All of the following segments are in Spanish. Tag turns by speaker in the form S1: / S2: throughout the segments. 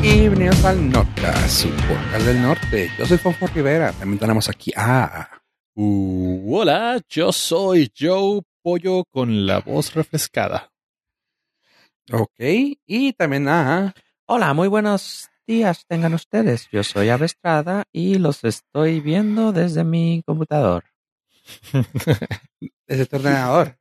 S1: Bienvenidos al Norte, su portal del norte. Yo soy Fofo Rivera. También tenemos aquí a.
S2: Uh, hola, yo soy Joe Pollo con la voz refrescada.
S1: Ok. Y también a.
S3: Hola, muy buenos días tengan ustedes. Yo soy Avestrada y los estoy viendo desde mi computador.
S1: Desde tu ordenador.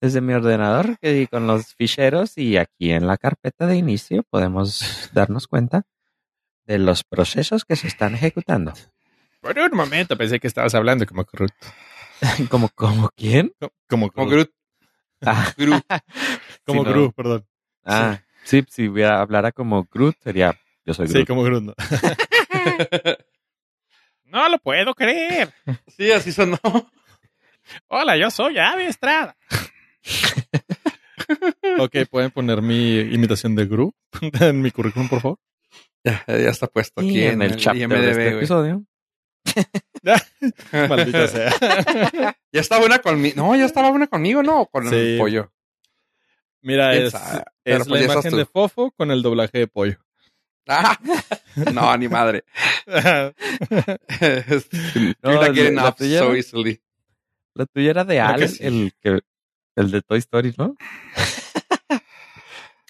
S3: Desde mi ordenador que- con los ficheros y aquí en la carpeta de inicio podemos darnos cuenta de los procesos que se están ejecutando.
S2: Por un momento pensé que estabas hablando como Groot.
S3: ¿Como, como quién?
S2: Como
S1: Como Groot.
S3: Ah,
S1: Groot.
S2: Como
S3: Sí, no.
S2: Groot, perdón.
S3: ah, sí, si hubiera- hablara como Groot sería yo soy
S2: Sí,
S3: Groot.
S2: como Groot. No. No lo puedo creer.
S1: Sí, así sonó.
S2: Hola, yo soy Ave Estrada. ok, ¿pueden poner mi imitación de Groot en mi currículum, por favor?
S1: Ya, ya está puesto aquí
S3: Y en el chat
S1: IMDb,
S3: de este
S1: güey.
S3: episodio.
S2: Maldita sea.
S1: Ya estaba una conmigo. No, ya estaba una conmigo, ¿no? O Con el
S2: Sí.
S1: pollo.
S2: Mira,
S1: ¿Quién
S2: es,
S1: sabe? Pero
S2: es
S1: pues
S2: la
S1: ya estás
S2: imagen
S1: tú.
S2: de Fofo con el doblaje de pollo.
S1: Ah, no, ni madre. no,
S3: la-
S1: la quieren
S3: la
S1: up
S3: tuya
S1: so
S3: no.
S1: easily.
S3: La tuya era de
S2: Creo que
S3: Al,
S2: sí.
S3: el, que, el de Toy Story, ¿no?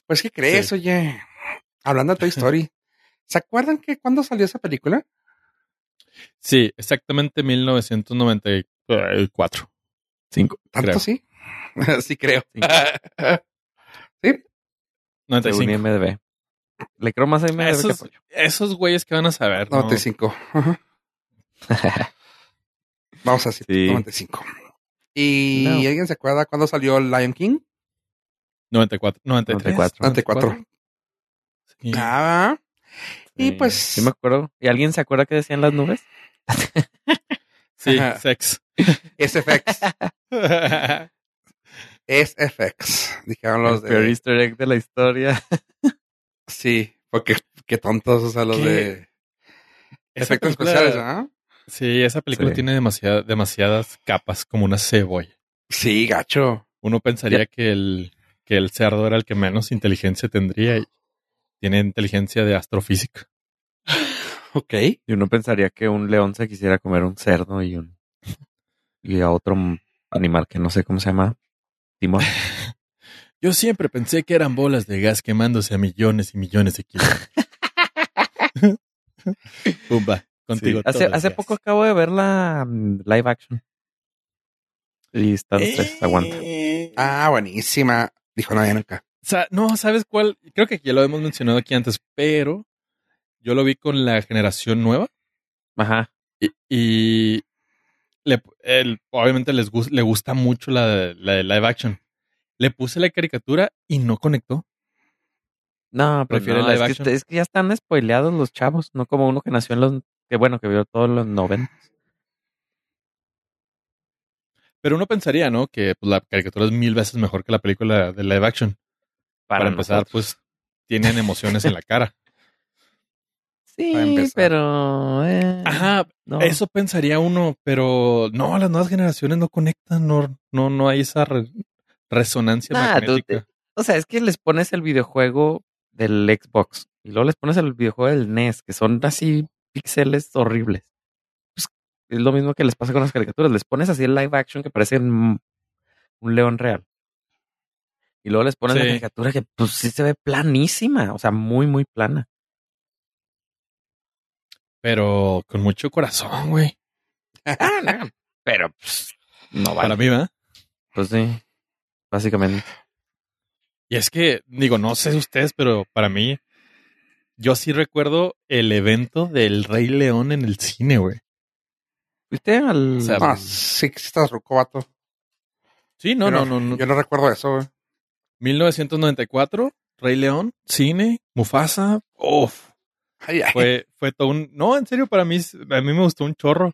S1: Pues, ¿qué crees, oye? Hablando de Toy Story. ¿Se acuerdan que cuando salió esa película?
S2: Sí, exactamente 1994.
S3: Cinco.
S1: ¿Tanto
S2: Creo.
S1: sí? sí, creo.
S3: Sí. Según
S2: 95.
S3: IMDb. Le creo más a IMDb que
S2: Esos,
S3: Pollo.
S2: esos güeyes que van a saber. ¿no?
S1: 95. Ajá. Vamos a decir
S3: Sí.
S1: 95. ¿Y
S3: No.
S1: alguien se acuerda cuándo salió Lion King?
S2: 94. 93.
S3: 94.
S1: 94.
S2: Sí.
S1: Ah, y
S3: Sí, Eh,
S1: pues.
S3: Sí, me acuerdo. ¿Y alguien se acuerda que decían las nubes?
S2: Sí,
S1: Ajá.
S2: sex.
S1: SFX. SFX. Dijeron los
S3: el peor
S1: de.
S3: easter egg de la historia.
S1: Sí, porque qué tontos, o sea, los
S2: ¿Qué?
S1: de
S2: Esa
S1: efectos
S2: película-
S1: especiales, ¿ah?
S2: Sí, esa película
S3: Sí.
S2: tiene demasiada- demasiadas capas, como una cebolla.
S1: Sí, gacho.
S2: Uno pensaría que, el, que el cerdo era el que menos inteligencia tendría. y tiene inteligencia de astrofísica.
S1: Ok.
S3: Y uno pensaría que un león se quisiera comer un cerdo y un y a otro m- animal que no sé cómo se llama. Timón.
S2: Yo siempre pensé que eran bolas de gas quemándose a millones y millones de kilómetros. Pumba, contigo.
S3: Sí. Hace,
S2: todas,
S3: hace
S2: gas.
S3: poco acabo de ver la mm, live action. Y están
S2: Eh.
S3: tres, aguanta.
S1: Ah, buenísima. Dijo nadie nunca.
S2: Sa- no, ¿sabes cuál? Creo que ya lo hemos mencionado aquí antes, pero yo lo vi con la generación nueva
S3: Ajá.
S2: y, y le- el- obviamente les gus- le gusta mucho la, de- la de live action. Le puse la caricatura y no conectó.
S3: No, pues
S2: Prefiere
S3: no,
S2: live
S3: es,
S2: action.
S3: que, es que ya están spoileados los chavos, no como uno que nació en los que bueno, que vio todos los 90.
S2: Pero uno pensaría, ¿no? Que pues, la caricatura es mil veces mejor que la película de live action. Para, empezar,
S3: nosotros.
S2: pues tienen emociones en la cara.
S1: Para
S3: Sí,
S1: empezar.
S3: pero. eh,
S2: Ajá,
S3: no.
S2: eso pensaría uno, pero no, las nuevas generaciones no conectan, no, no, no hay esa re- resonancia
S3: Nah, tú-
S2: magnética.
S3: O sea, es que les pones el videojuego del Xbox y luego les pones el videojuego del NES, que son así píxeles horribles. Pues, es lo mismo que les pasa con las caricaturas. Les pones así el live action que parece un, un león real. Y luego les pones la
S2: Sí.
S3: caricatura que pues sí se ve planísima, o sea, muy, muy plana.
S2: Pero con mucho corazón, güey.
S3: Ah, Pero pues, no vale.
S2: Para mí, ¿verdad?
S3: Pues sí, básicamente.
S2: Y es que, digo, no sé ustedes, pero para mí, yo sí recuerdo el evento del Rey León en el cine, güey.
S3: ¿Fuiste al...?
S2: O sea,
S1: Ah, sí, sí estás ruco, vato.
S2: Sí, no,
S1: Pero
S2: no, no, no.
S1: Yo no recuerdo eso, güey.
S2: 1994, Rey León, cine, Mufasa, uff.
S1: Ay, ay.
S2: Fue, fue todo un... No, en serio, para mí, a mí me gustó un chorro.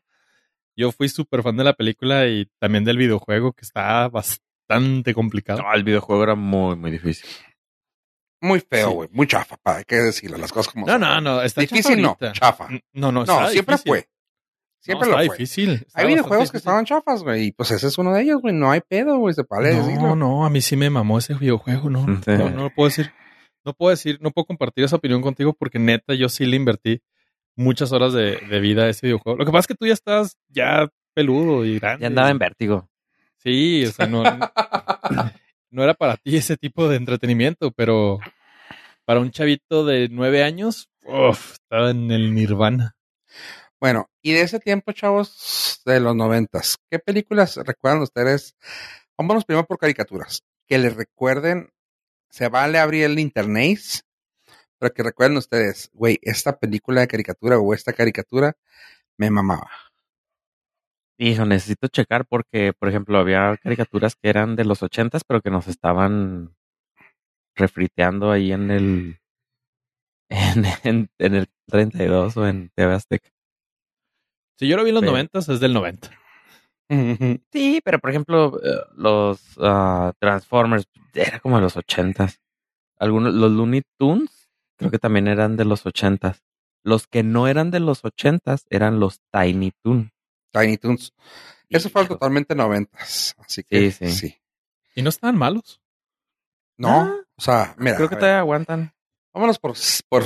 S2: Yo fui súper fan de la película y también del videojuego, que está bastante complicado.
S3: No, el videojuego era muy, muy difícil.
S1: Muy feo,
S2: Sí.
S1: güey. Muy chafa, pa. Hay que decirle las cosas como
S2: No,
S1: son.
S2: no, no, está chafa
S1: Difícil no,
S2: ahorita.
S1: chafa.
S2: No, no,
S1: No,
S2: está
S1: siempre
S2: difícil.
S1: fue. Siempre
S2: no,
S1: lo
S2: está
S1: fue.
S2: difícil.
S1: Hay videojuegos que estaban chafas, güey. Y pues ese es uno de ellos, güey. No hay pedo, güey. Se vale
S2: No,
S1: decirlo.
S2: no, a mí sí me mamó ese videojuego, no.
S3: Sí.
S2: No, no lo puedo decir. no puedo decir, no puedo compartir esa opinión contigo porque neta yo sí le invertí muchas horas de, de vida a ese videojuego. Lo que pasa es que tú ya estás ya peludo y grande.
S3: Ya andaba en vértigo.
S2: Sí, o sea, no, no era para ti ese tipo de entretenimiento, pero para un chavito de nueve años, uf, estaba en el nirvana.
S1: Bueno, y de ese tiempo, chavos, de los noventas, ¿qué películas recuerdan ustedes? Vámonos primero por caricaturas. Que les recuerden, se vale abrir el internet, pero que recuerden ustedes, güey, esta película de caricatura o esta caricatura me mamaba.
S3: Hijo, necesito checar porque, por ejemplo, había caricaturas que eran de los ochentas, pero que nos estaban refriteando ahí en el en, en, en el 32 o en TV Azteca.
S2: Si yo lo vi en los
S3: Sí.
S2: noventas, es del 90.
S3: Sí, pero por ejemplo, eh, los ah, Transformers era como de los ochentas. Algunos, los Looney Tunes creo que también eran de los ochentas. Los que no eran de los ochentas eran los Tiny Toon.
S1: Tiny Toons. Eso fue
S3: Hijo,
S1: totalmente noventas. Así que
S3: Sí,
S1: sí.
S3: sí.
S2: Y no estaban malos.
S1: No,
S3: Ah,
S1: o sea, mira.
S3: Creo que
S1: a ver,
S3: todavía aguantan.
S1: Vámonos por, por.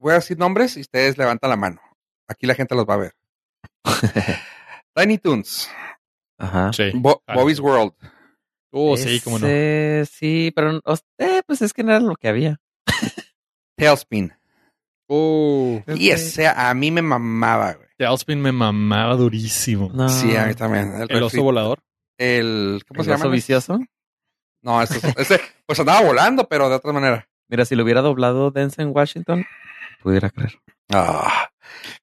S1: Voy a decir nombres y ustedes levantan la mano. Aquí la gente los va a ver. Tiny Toons,
S3: Ajá.
S2: Sí.
S1: Bo-
S2: Ah,
S1: Bobby's
S2: sí.
S1: World,
S2: Oh, sí, cómo no.
S3: Ese, Sí, pero o- eh, pues es que no era lo que había.
S1: Tailspin.
S2: Oh,
S3: Creo
S1: Y
S3: que-
S1: ese a mí me mamaba, güey.
S2: Tailspin me mamaba durísimo.
S3: No.
S1: Sí, a mí también. El,
S2: El
S1: refri-
S2: oso volador.
S1: el- ¿Cómo se
S3: ¿El oso
S1: llama?
S3: vicioso?
S1: No, ese, ese, pues andaba volando, pero de otra manera.
S3: Mira, si lo hubiera doblado Denzel Washington, pudiera creer.
S1: Ah.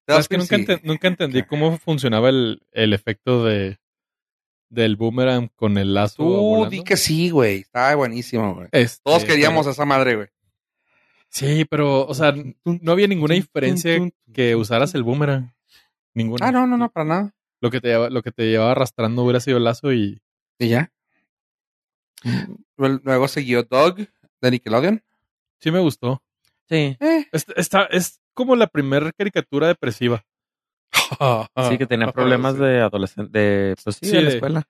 S2: Sabes que nunca,
S1: Tailspin, sí.
S2: ente- nunca entendí cómo funcionaba el, el efecto de del boomerang con el lazo.
S1: Tú
S2: volando.
S1: di que sí, güey. Estaba buenísimo, güey.
S2: Este,
S1: Todos queríamos
S2: pero-
S1: esa madre, güey.
S2: sí, pero, o sea, n- no había ninguna diferencia que usaras el boomerang. Ninguna.
S1: Ah, no, no, no, para nada.
S2: Lo que te llevaba, lo que te llevaba arrastrando hubiera sido el lazo y.
S1: Y ya. Mm. Luego luego siguió Doug de Nickelodeon.
S2: Sí me gustó.
S3: Sí,
S1: Eh.
S2: Es, está, es como la primera caricatura depresiva.
S3: sí que tenía
S2: Ah,
S3: problemas
S2: sí.
S3: de adolescente, de, pues sí,
S2: Sí,
S3: de la
S2: de-
S3: escuela.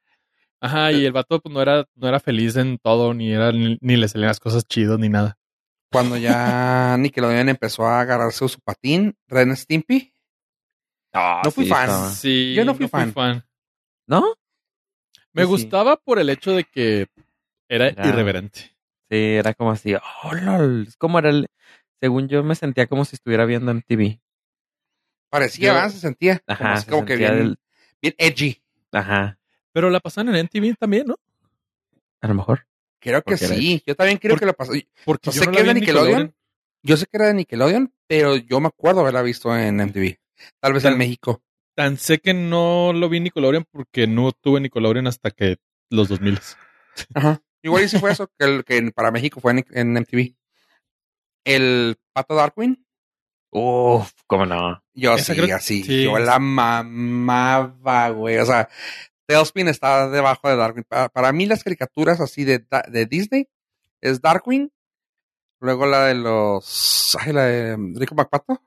S2: Ajá, y el vato pues, no era, no era feliz en todo, ni era, ni, ni le salían las cosas chidas ni nada.
S1: Cuando ya Nickelodeon empezó a agarrarse su patín, Ren Stimpy. No fui
S3: sí,
S1: fan.
S3: estaba.
S2: Sí,
S1: Yo no fui fan.
S3: ¿No?
S2: Me
S3: Sí, sí.
S2: gustaba por el hecho de que era,
S3: Era-
S2: irreverente.
S3: Sí, era como así, oh, lol. Es como era el, según yo me sentía como si estuviera viendo en TV.
S1: Parecía,
S2: Yo-
S1: ¿verdad? Se sentía. como-
S3: Ajá, se
S1: como que
S3: sentía
S1: bien,
S3: del-
S1: bien edgy.
S3: Ajá,
S2: Pero la pasaban en NTV también, ¿no?
S3: a lo mejor.
S1: Creo que
S3: Porque era
S1: sí. Yo también creo
S2: Por-
S1: que lo pasó.
S2: Porque
S1: No
S2: yo
S1: sé
S2: no
S1: qué
S2: la vi
S1: era
S2: en
S1: Nickelodeon.
S2: Nickelodeon.
S1: Yo sé que era de Nickelodeon, pero yo me acuerdo haberla visto en MTV. Tal vez
S2: Tal-
S1: en México.
S2: Tan sé que no lo vi en Nickelodeon porque no tuve Nickelodeon hasta que los 2000.
S1: Ajá. Igual y sí fue eso, que, el, que para México fue en, en MTV. El Pato Darkwing.
S3: Uf, cómo no.
S1: Yo
S2: Esa
S1: sí,
S2: creo-
S1: así.
S2: sí.
S1: Yo la mamaba, güey. O sea, Tailspin está debajo de Darkwing. Pa- Para, mí las caricaturas así de, Da- de Disney es Darkwing. Luego la de los... Ay, la de um, Rico McPato.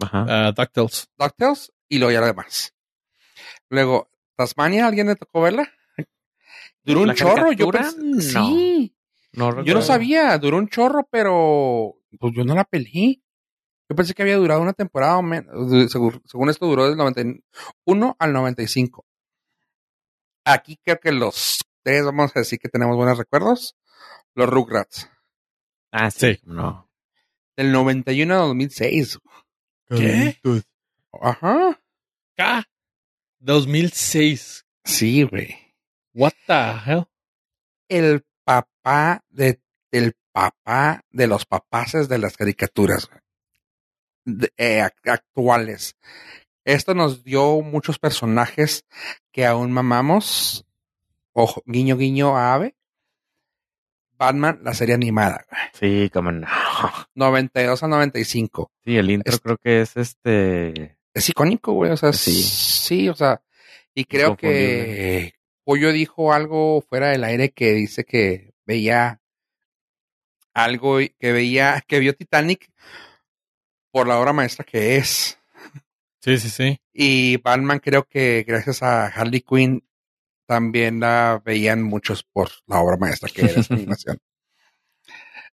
S3: Ajá.
S2: Ah, DuckTales.
S1: DuckTales. Y luego ya lo demás. Luego, Tasmania. ¿Alguien le tocó verla? Duró un
S3: ¿La
S1: chorro. Yo
S3: caricatura?
S1: pensé...
S3: No.
S1: Sí. Yo
S3: recuerdo.
S1: no sabía, duró un chorro, pero pues yo no la pelé. Yo pensé que había durado una temporada o menos. Según, según esto, duró del 91 al 95. Aquí creo que los tres vamos a decir que tenemos buenos recuerdos. Los Rugrats.
S3: Ah, sí.
S2: Sí.
S3: cómo No.
S1: Del 91 al 2006.
S2: ¿Qué?
S1: Ajá.
S2: K. 2006.
S1: Sí, güey.
S2: What the hell?
S1: El papá de, el papá de los papaces de las caricaturas güey. De- eh, ac- actuales. Esto nos dio muchos personajes que aún mamamos. Ojo, guiño, guiño, ave. Batman, la serie animada. güey.
S3: Sí, cómo no.
S1: 92 a 95.
S3: Sí, el intro
S1: Es-
S3: creo que es este.
S1: Es icónico, güey. O sea,
S3: Sí.
S1: sí. o sea. Y creo que Pollo dijo algo fuera del aire que dice que veía algo y- que veía, que vio Titanic por la obra maestra que es.
S2: Sí, sí, sí.
S1: Y Batman creo que gracias a Harley Quinn también la veían muchos por la obra maestra que era su animación.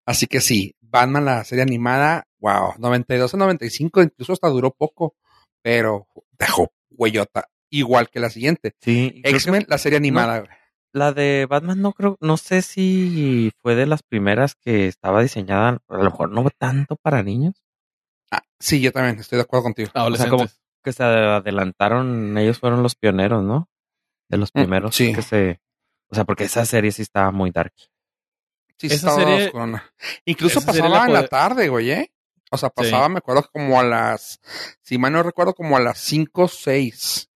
S1: Así que sí, Batman, la serie animada, wow, 92 a 95, incluso hasta duró poco, pero dejó huellota, igual que la siguiente.
S3: Sí. y creo que
S1: X-Men, la serie animada. güey.
S3: La de Batman no creo, no sé si fue de las primeras que estaba diseñada, a lo mejor no tanto para niños,
S1: Ah, sí, yo también estoy de acuerdo contigo.
S2: Adolescentes.
S3: como- que se adelantaron, ellos fueron los pioneros, ¿no? De los
S1: Mm,
S3: primeros
S1: sí.
S3: que se, o sea, porque esa serie sí estaba muy dark.
S1: Sí,
S2: Esa
S1: estaba
S2: serie-
S1: oscurona. Incluso
S2: esa serie
S1: pasaba
S2: la
S1: en la
S2: puede-
S1: tarde, güey, ¿eh? O sea, pasaba, me acuerdo, como a las, si mal no recuerdo, como a las 5 o 6.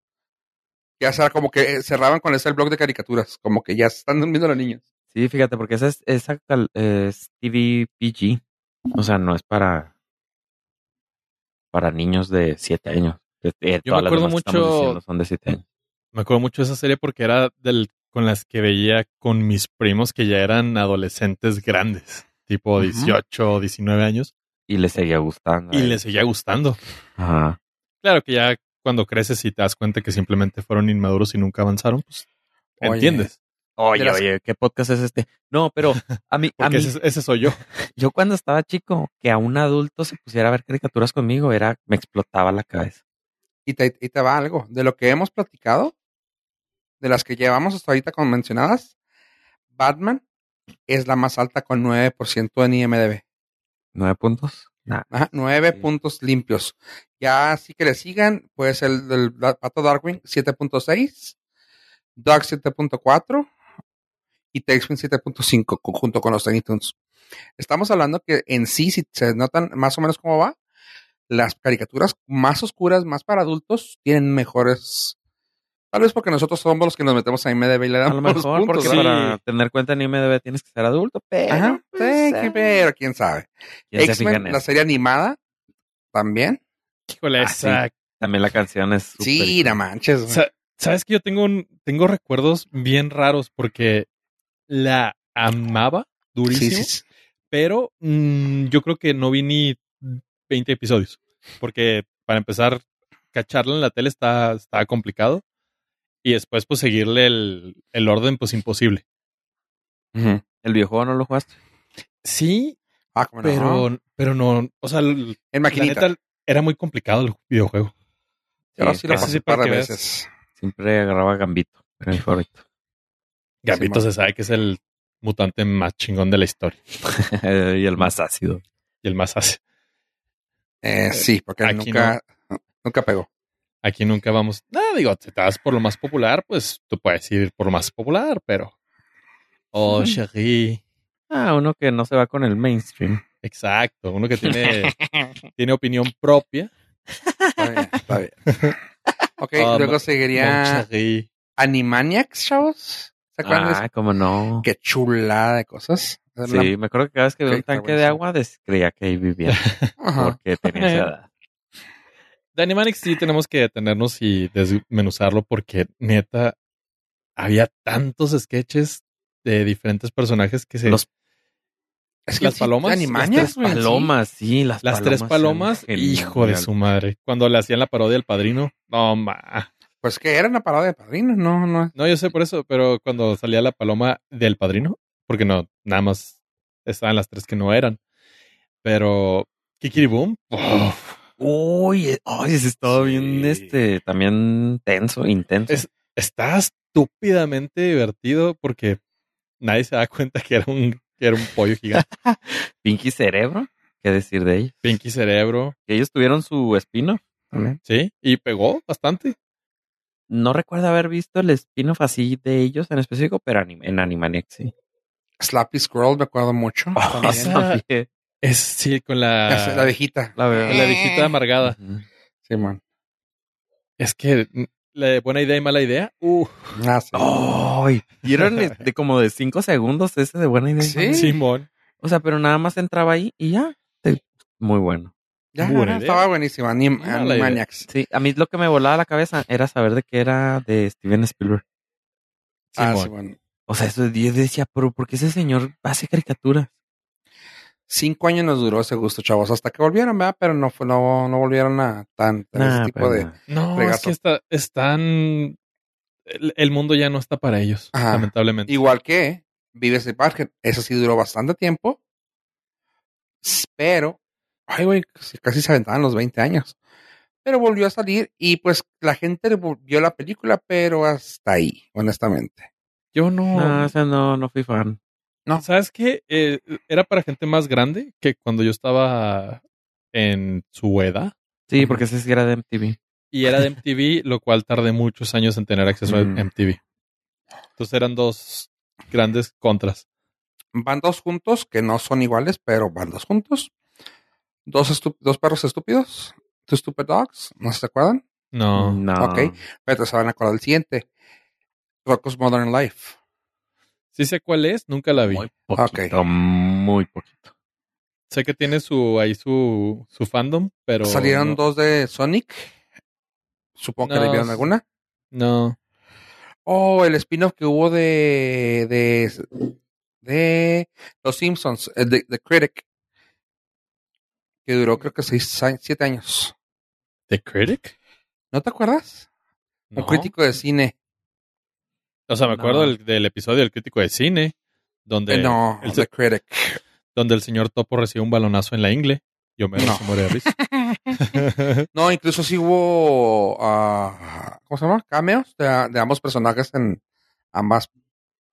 S1: Ya sea como que eh, cerraban con ese el blog de caricaturas, como que ya están durmiendo los niños.
S3: Sí, fíjate, porque esa es, esa cal- es TV PG, o sea, no es para, para niños de 7 años. Eh, eh,
S2: Yo me
S3: todas las
S2: acuerdo
S3: demás que estamos
S2: mucho-
S3: diciendo son de 7 años.
S2: Me acuerdo mucho de esa serie porque era del, con las que veía con mis primos que ya eran adolescentes grandes, tipo
S3: Ujú.
S2: 18 o 19 años,
S3: Y les seguía gustando. a
S2: y
S3: ellos.
S2: les seguía gustando.
S3: Ajá.
S2: Claro que ya cuando creces y te das cuenta que simplemente fueron inmaduros y nunca avanzaron, pues
S1: Oye.
S2: entiendes.
S3: Oye,
S1: De las-
S3: oye, ¿qué podcast es este? No, pero a mí, a
S2: Porque
S3: mí
S2: ese, ese soy yo.
S3: yo cuando estaba chico, que a un adulto se pusiera a ver caricaturas conmigo, era, me explotaba la cabeza.
S1: Y te, y te va algo. De lo que hemos platicado, de las que llevamos hasta ahorita con mencionadas, Batman es la más alta con 9% en IMDB.
S3: ¿Nueve puntos? Nah.
S1: Ajá, nueve
S3: Sí.
S1: puntos limpios. Ya así que le sigan, pues el del da- Pato Darwin 7.6, Doug 7.4 y Tailspin 7.5 co- junto con los Tiny Toons. Estamos hablando que en sí, si se notan más o menos cómo va, las caricaturas más oscuras, más para adultos, tienen mejores... Tal vez porque nosotros somos los que nos metemos a IMDB y le
S3: A
S1: damos
S3: lo
S1: los
S3: mejor,
S1: puntos.
S3: porque
S1: ¿verdad?
S3: para tener cuenta en IMDb tienes que ser adulto, pero...
S1: Ajá,
S3: pues,
S1: sí,
S3: ah,
S1: pero quién sabe.
S3: ¿quién se fija en
S1: X-Men,
S3: eso?
S1: la serie animada, también.
S2: Híjole,
S3: Ah, sí.
S2: esa
S3: También la canción es súper
S1: Sí,
S3: icónica.
S1: no manches. güey.
S2: Sa- Sabes que yo tengo un- tengo recuerdos bien raros porque la amaba
S1: Sí,
S2: durísimo,
S1: sí, sí.
S2: pero mm, yo creo que no vi ni 20 episodios. Porque para empezar, cacharla en la tele está, está complicado. Y después, pues seguirle el, el orden, pues imposible.
S3: Ujú. El videojuego no lo jugaste.
S2: Sí,
S1: Ah, cómo no.
S2: pero, pero no. O sea, el-
S1: en
S2: la
S1: maquinita.
S2: neta era muy complicado el videojuego.
S1: Yo sí lo
S2: ese
S1: pasé
S2: sí
S1: un par
S2: para
S1: de
S2: que veas.
S1: veces.
S3: Siempre agarraba Gambito. Era mi favorito.
S2: Gambito
S1: Sí,
S2: se sabe que es el mutante más chingón de la historia
S3: y el más ácido.
S2: y el más ácido.
S1: Eh, sí, porque
S2: Aquí
S1: nunca, nunca pegó.
S2: Aquí nunca vamos. Nada, digo, si te vas por lo más popular, pues tú puedes ir por lo más popular, pero. Oh,
S3: Ujú.
S2: Sherry.
S3: Ah, uno que no se va con el mainstream.
S2: Exacto. Uno que tiene, tiene opinión propia.
S1: Está bien, está bien. Ok,
S2: Ah,
S1: luego
S2: ma- Mon
S1: seguiría
S2: Sherry.
S1: Animaniacs, chavos. ¿Se acuerdan de
S3: Ah,
S1: eso?
S3: cómo no.
S1: Qué chulada de cosas. Era una-
S3: Sí, me acuerdo que cada vez que veía
S1: Ok,
S3: un
S1: está
S3: tanque de
S1: buenísimo.
S3: agua, des- creía que ahí vivía.
S1: Ajá.
S3: Porque tenía esa edad.
S2: De Animaniacs sí tenemos que detenernos y desmenuzarlo porque, neta, había tantos sketches de diferentes personajes que se.
S3: Los-
S1: Es
S2: Las
S1: sí,
S2: palomas, las
S1: Animaniacs,
S2: tres
S1: güey, sí.
S3: Palomas, sí, las,
S2: las tres
S3: palomas.
S2: palomas,
S3: eran
S2: hijo de
S3: genial.
S2: su madre. Cuando le hacían la parodia del padrino, no, ma.
S1: Pues que era una parada de padrinos, no, no.
S2: No, yo sé por eso, pero cuando salía la paloma del padrino, porque no, nada más estaban las tres que no eran. Pero Kikiri Boom, uf,
S3: Uy, eh, ay, ese estaba
S2: Sí.
S3: bien, este, también tenso, intenso.
S2: Es- está estúpidamente divertido porque nadie se da cuenta que era un, que era un pollo gigante.
S3: Pinky Cerebro, qué decir de ellos.
S2: Pinky Cerebro,
S3: Que ellos tuvieron su spin-off. también.
S2: sí, y pegó bastante.
S3: No recuerdo haber visto el spin-off así de ellos en específico, pero anim- en Animaniacs sí.
S1: Slappy Squirrel, me acuerdo mucho. Ah, también.
S2: esa- Es sí, con la,
S1: Esa es la eh. viejita.
S3: La verdad.
S2: la viejita amargada.
S3: Ujú.
S1: Sí, man.
S2: Es que mm, la de buena idea y mala idea, uh,
S1: Ah, sí.
S3: Ay, vieron el- de como de cinco segundos ese de buena idea.
S1: Sí.
S2: Simón.
S3: O sea, pero nada más entraba ahí y ya. Te- Muy bueno.
S1: Ya,
S2: buena
S1: no,
S2: idea.
S1: estaba buenísima. Anim-
S2: Mala ¿eh? Ah, idea.
S1: Animaniacs.
S3: Sí, a mí lo que me volaba la cabeza era saber de qué era de Steven Spielberg.
S1: Ah,
S2: Simón.
S1: sí, bueno.
S3: O sea, eso yo decía, pero ¿por qué ese señor hace caricaturas?
S1: Cinco años nos duró ese gusto, chavos, hasta que volvieron, ¿verdad? Pero no, fue- no, no volvieron a tan, tan ese
S3: Nah, pues,
S1: tipo
S3: pero
S1: de...
S3: nah.
S2: No, es
S1: Fregazo.
S2: que está, están. El, el mundo ya no está para ellos,
S1: Ajá.
S2: lamentablemente.
S1: Igual que Vives de Parker, eso sí duró bastante tiempo, Pero, ay, güey, casi- casi se aventaban los 20 años. Pero volvió a salir y pues la gente vol- vio la película, pero hasta ahí, honestamente.
S2: Yo no.
S3: No, o sea, no, no fui fan.
S2: ¿Sabes qué? Eh, era para gente más grande que cuando yo estaba en su edad.
S3: Sí, porque ese sí era de MTV.
S2: Y era de MTV, lo cual tardé muchos años en tener acceso a
S1: Mm.
S2: MTV. Entonces eran dos grandes contras.
S1: Van dos juntos, que no son iguales, pero van dos juntos. Dos, estu- dos perros estúpidos, Two Stupid Dogs, no sé si se acuerdan,
S2: No.
S3: No.
S1: Ok. pero se van a acordar del siguiente. Rocco's Modern Life.
S2: Sí sé cuál es, nunca la vi.
S3: Muy poquito, muy poquito.
S2: Sé que tiene su ahí su, su fandom, pero.
S1: Salieron
S2: no,
S1: dos de Sonic. Supongo que
S2: No,
S1: le vieron
S2: s-
S1: alguna.
S2: No.
S1: Oh, el spin-off que hubo de, de, de Los Simpsons, eh, de The Critic, que duró creo que seis, a- siete años.
S2: ¿The Critic?
S1: ¿No te acuerdas?
S2: No.
S1: Un crítico de cine. Eh,
S2: O sea, me
S3: No.
S2: acuerdo del, del episodio del crítico de cine, donde,
S1: Eh, no,
S2: el,
S1: The
S2: se-
S1: Critic.
S2: donde el señor Topo recibe un balonazo en la ingle. Yo me
S1: No.
S2: se muere de risa.
S1: No, incluso sí hubo, ah, ¿cómo se llama? Cameos de, de ambos personajes en ambas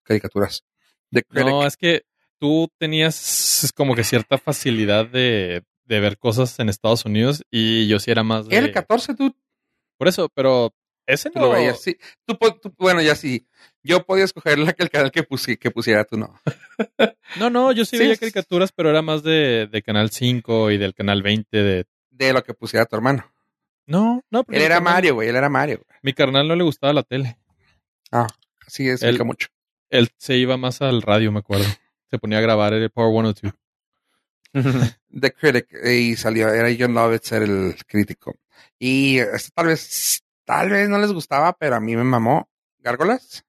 S1: caricaturas. The Critic.
S2: No, es que tú tenías como que cierta facilidad de, de ver cosas en Estados Unidos y yo sí era más de...
S1: el 14 tú,
S2: Por eso, pero ese
S1: tú
S2: no...
S1: lo veías, sí. Tú, po- tú- bueno, ya sí. Yo podía escoger la, el canal que, pusi- que pusiera, tú no.
S2: No, no, yo sí,
S1: Sí,
S2: veía
S1: es-
S2: caricaturas, pero era más de, de Canal 5 y del Canal 20 de...
S1: De lo que pusiera tu hermano.
S2: No, no, porque
S1: Él
S2: mi
S1: era
S2: carnal-
S1: Mario, güey. Él era Mario. güey.
S2: Mi carnal no le gustaba la tele.
S1: Así explica
S2: Él-
S1: mucho.
S2: Él se iba más al radio, me acuerdo. Se ponía a grabar el Power 102.
S1: The Critic. eh, Y salió. Era John Lovitz era el crítico. Y eh, este tal vez, tal vez no les gustaba, pero a mí me mamó. ¿Gárgolas?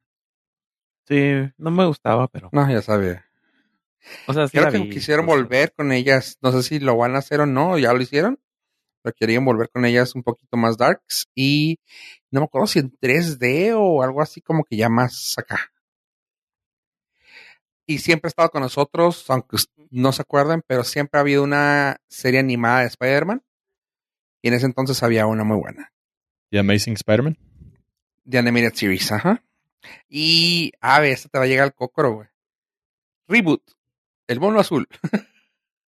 S3: sí, no me gustaba, pero.
S1: No, ya sabía.
S3: O sea, sí
S1: Creo
S3: la
S1: que
S3: vi,
S1: quisieron
S3: pues,
S1: volver con ellas. No sé si lo van a hacer o no. Ya lo hicieron. Pero querían volver con ellas un poquito más darks. Y no me acuerdo si en 3D o algo así como que ya más acá. Y siempre ha estado con nosotros, aunque us- no se acuerden, pero siempre ha habido una serie animada de Spider-Man. Y en ese entonces había una muy buena.
S2: The Amazing Spider-Man.
S1: The Animated Series, ajá. Y, a ver, esta te va a llegar al cocoro, güey. Reboot. El mono azul.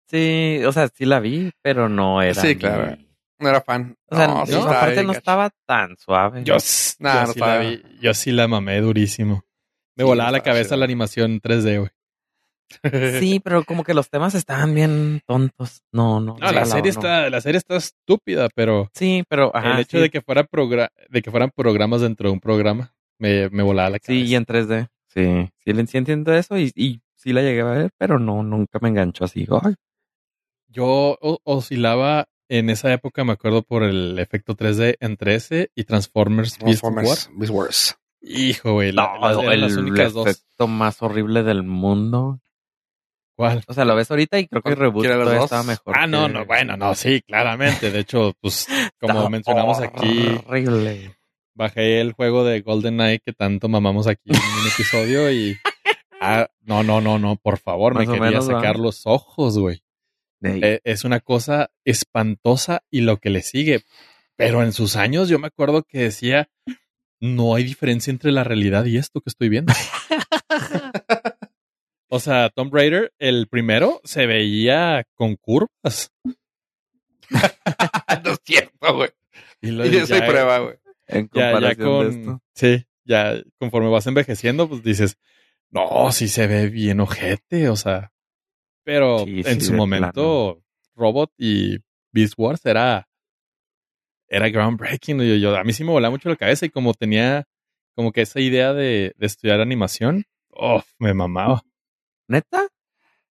S3: Sí, o sea, sí la vi, pero no era.
S1: Sí,
S3: mi-
S1: claro. No era fan.
S3: O sea,
S1: sí
S3: no,
S1: estaba
S3: aparte
S1: bien
S3: no
S1: gacho.
S3: estaba tan suave.
S2: Yo, s-
S1: Nah,
S2: yo
S1: no
S2: sí la
S1: estaba.
S2: vi- yo sí la mamé durísimo. Me
S1: Sí,
S2: volaba la
S1: estaba
S2: cabeza
S1: chido.
S2: la animación 3D, güey.
S3: Sí, pero como que los temas estaban bien tontos. No, no.
S2: No, la
S3: sí,
S2: serie
S3: no.
S2: está, la serie está estúpida, pero
S3: Sí, pero ajá,
S2: el hecho
S3: sí,
S2: de que fuera progra- de que fueran programas dentro de un programa me, me volaba la cabeza.
S3: Sí, y en 3D. Sí, sí, le- sí entiendo eso y, y sí la llegué a ver, pero no, nunca me enganchó así. Ay,
S2: Yo o- oscilaba en esa época, me acuerdo por el efecto 3D entre ese y Transformers, Beast War.
S1: Transformers, Beast Wars.
S2: Hijo, güey, la- las-
S3: no,
S2: eran las únicas dos.
S3: efecto más horrible del mundo.
S2: ¿Cuál?
S3: O sea, lo ves ahorita y creo que el reboot
S1: ¿Quiere ver
S3: todavía
S1: dos?
S3: estaba mejor.
S2: Ah, no,
S3: que-
S2: no, bueno, no, sí, claramente. De hecho, pues, como
S3: Estaba
S2: mencionamos aquí,
S3: Horrible.
S2: bajé el juego de GoldenEye que tanto mamamos aquí en un episodio y... Ah, no, no, no, no, por favor, me
S3: Más o
S2: quería
S3: menos, ¿verdad?
S2: sacar los ojos, güey.
S3: Ey.
S2: Eh, Es una cosa espantosa y lo que le sigue. Pero en sus años yo me acuerdo que decía, no hay diferencia entre la realidad y esto que estoy viendo. o sea, Tomb Raider, el primero, se veía con curvas.
S1: Ah, no es cierto, güey.
S2: Y lo
S1: Y yo soy
S2: ya-
S1: prueba, güey.
S3: en
S2: ya, ya
S3: comparación de
S2: con...
S3: esto.
S2: Sí, ya conforme vas envejeciendo, pues dices, no, sí se ve bien ojete, o sea. Pero
S3: Sí,
S2: en
S3: sí,
S2: su
S3: de
S2: momento, Robot y Beast Wars era, era groundbreaking. Yo, yo- a mí sí me volaba mucho la cabeza y como tenía como que esa idea de, de estudiar animación, oh, me mamaba.
S3: ¿Neta?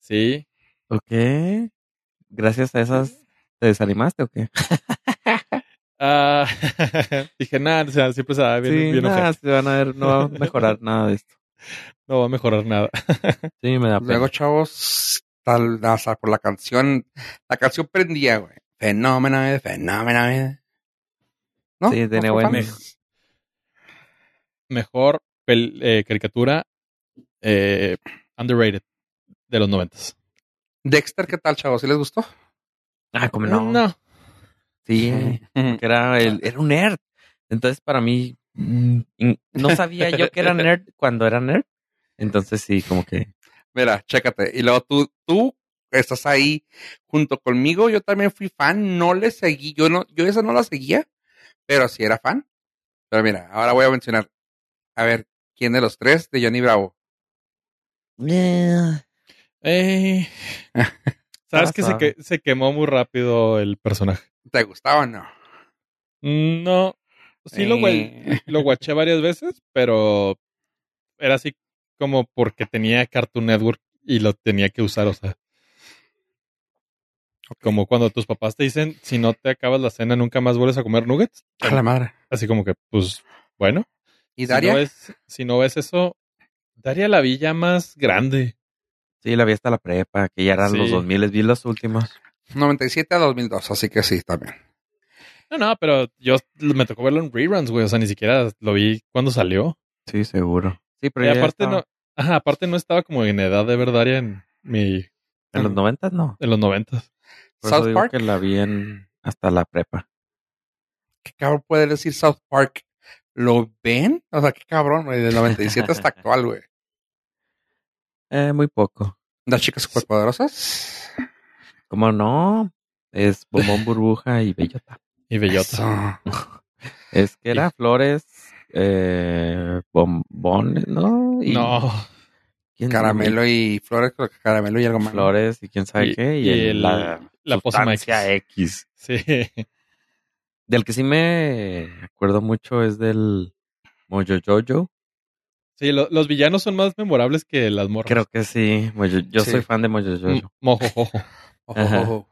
S2: Sí,
S3: Ok. Gracias a esas, ¿te desanimaste o qué?
S2: Ah, dije, nada, o sea, siempre se va bien,
S3: sí,
S2: bien
S3: nada,
S2: ojete,
S3: se van a ver, no va a mejorar nada de esto.
S2: no va a mejorar nada.
S3: Sí, me da pena.
S1: Luego, chavos, tal, hasta por la canción. La canción prendía, güey. Fenómeno, eh, fenómeno. eh. ¿No?
S3: Sí, tenía
S1: ¿No fue fan?
S3: buenos.
S2: mejor pel- eh, caricatura eh, underrated de los noventas.
S1: Dexter, ¿qué tal, chavos? ¿Sí les gustó?
S3: Ah, como no. Sí, eh, que era, el, era un nerd. Entonces, para mí, mm, in- no sabía yo que era nerd cuando era nerd. Entonces, sí, como que.
S1: Mira, chécate. Y luego tú, tú estás ahí junto conmigo. Yo también fui fan, no le seguí. Yo no, yo esa no la seguía, pero sí era fan. Pero mira, ahora voy a mencionar. A ver, ¿quién de los tres de Johnny Bravo?
S3: eh,
S2: Eh, Sabes que se, que se quemó muy rápido el personaje.
S1: ¿Te gustaba o no?
S2: No. Sí lo, guay-
S1: Eh.
S2: lo guaché varias veces, pero era así como porque tenía Cartoon Network y lo tenía que usar, o sea. Como cuando tus papás te dicen, si no te acabas la cena, nunca más vuelves a comer nuggets.
S1: A la madre.
S2: Así como que, pues, bueno.
S1: ¿Y
S2: Si
S1: Daria?
S2: no ves, si no ves eso, Daria la vi ya más grande.
S3: Sí, la vi hasta la prepa, que ya eran los
S2: Sí.
S3: 2000, vi los últimos.
S1: 97 a 2002, así que sí, también.
S2: No, no, pero yo me tocó verlo en reruns, güey. O sea, ni siquiera lo vi cuando salió.
S3: Sí, seguro. Sí, pero
S2: Y
S3: ya
S2: aparte
S3: estaba-
S2: no, ajá, aparte no estaba como en edad de ver Daria en mi,
S3: En los 90 no.
S2: en los noventas.
S3: Por eso
S1: South
S3: digo
S1: Park.
S3: que la vi en hasta la prepa.
S1: ¿Qué cabrón puede decir South Park? ¿Lo ven? O sea, qué cabrón, güey. Del 97 hasta actual, güey.
S3: Eh, muy poco.
S1: Las chicas superpoderosas.
S3: Como no, es bombón burbuja y bellota.
S2: Y Bellota.
S1: Eso.
S3: Es que era flores, eh, bombones, ¿no? Y
S2: No.
S3: quién-
S1: Caramelo y flores, creo que caramelo y algo más. ¿no?
S3: Flores y quién sabe
S2: Y-
S3: qué. Y,
S2: y
S3: el-
S2: el-
S3: la,
S2: la pócima
S3: sustancia X.
S2: Sí.
S3: Del que sí me acuerdo mucho es del Mojojojo.
S2: Sí, lo- los villanos son más memorables que las morras. Mm,
S3: Creo que sí. Mm, Mojo- yo
S1: Sí.
S3: soy fan de
S2: M-
S3: Mojojojo.
S2: Mojojojo.
S1: Ojo,
S3: Ajá.
S1: ojo.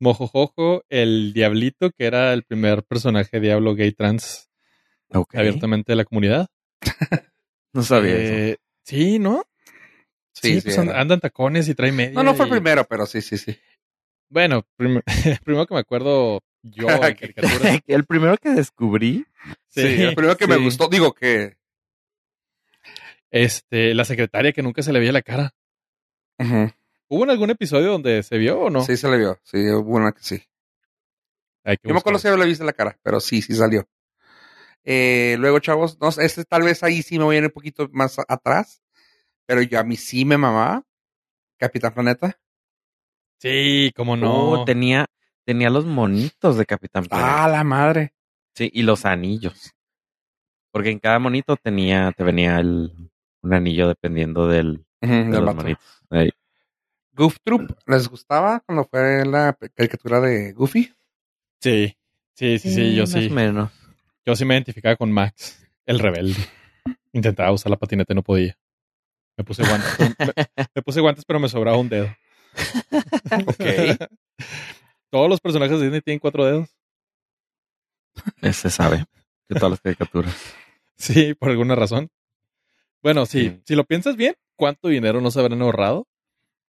S2: Mojojojo, el diablito, que era el primer personaje diablo gay trans
S3: Ok.
S2: abiertamente de la comunidad.
S3: No sabía eso.
S2: Eh, Sí, ¿no?
S1: Sí, sí,
S2: pues
S1: era.
S2: and- andan tacones y trae media.
S1: No, no fue el
S2: y-
S1: primero, pero sí, sí, sí.
S2: Bueno, prim- primero que me acuerdo yo en caricaturas.
S3: el primero que descubrí.
S1: Sí, el primero que me
S2: sí.
S1: gustó, digo que.
S2: Este, la secretaria que nunca se le veía la cara. ¿Hubo en algún episodio donde se vio o no?
S1: Sí, se le vio. Sí, hubo una que sí.
S2: Hay que
S1: Yo me acuerdo si
S2: buscar.
S1: le viste la cara, pero sí, sí salió. Eh, luego, chavos, no, sé, este tal vez ahí sí me voy a ir un poquito más a- atrás, pero yo a mí sí me mamaba. Capitán Planeta.
S2: Sí, cómo no.
S3: No, oh, tenía, tenía los monitos de Capitán Planeta.
S1: Ah, la madre.
S3: Sí, y los anillos. Porque en cada monito tenía, te venía el, un anillo dependiendo del, de
S1: Del
S3: los
S1: vato.
S3: monitos. Ahí.
S1: Goof Troop, ¿les gustaba cuando fue la caricatura de Goofy?
S2: Sí, sí, sí, sí, yo
S3: más
S2: sí.
S3: o menos.
S2: Yo sí me identificaba con Max, el rebelde. Intentaba usar la patineta y no podía. Me puse guantes, pero me, me puse guantes, pero me sobraba un dedo.
S1: Ok.
S2: Todos los personajes de Disney tienen cuatro dedos.
S3: Ese sabe. De todas las caricaturas.
S2: Sí, por alguna razón. Bueno, sí,
S3: Sí.
S2: si lo piensas bien, ¿cuánto dinero no se habrán ahorrado?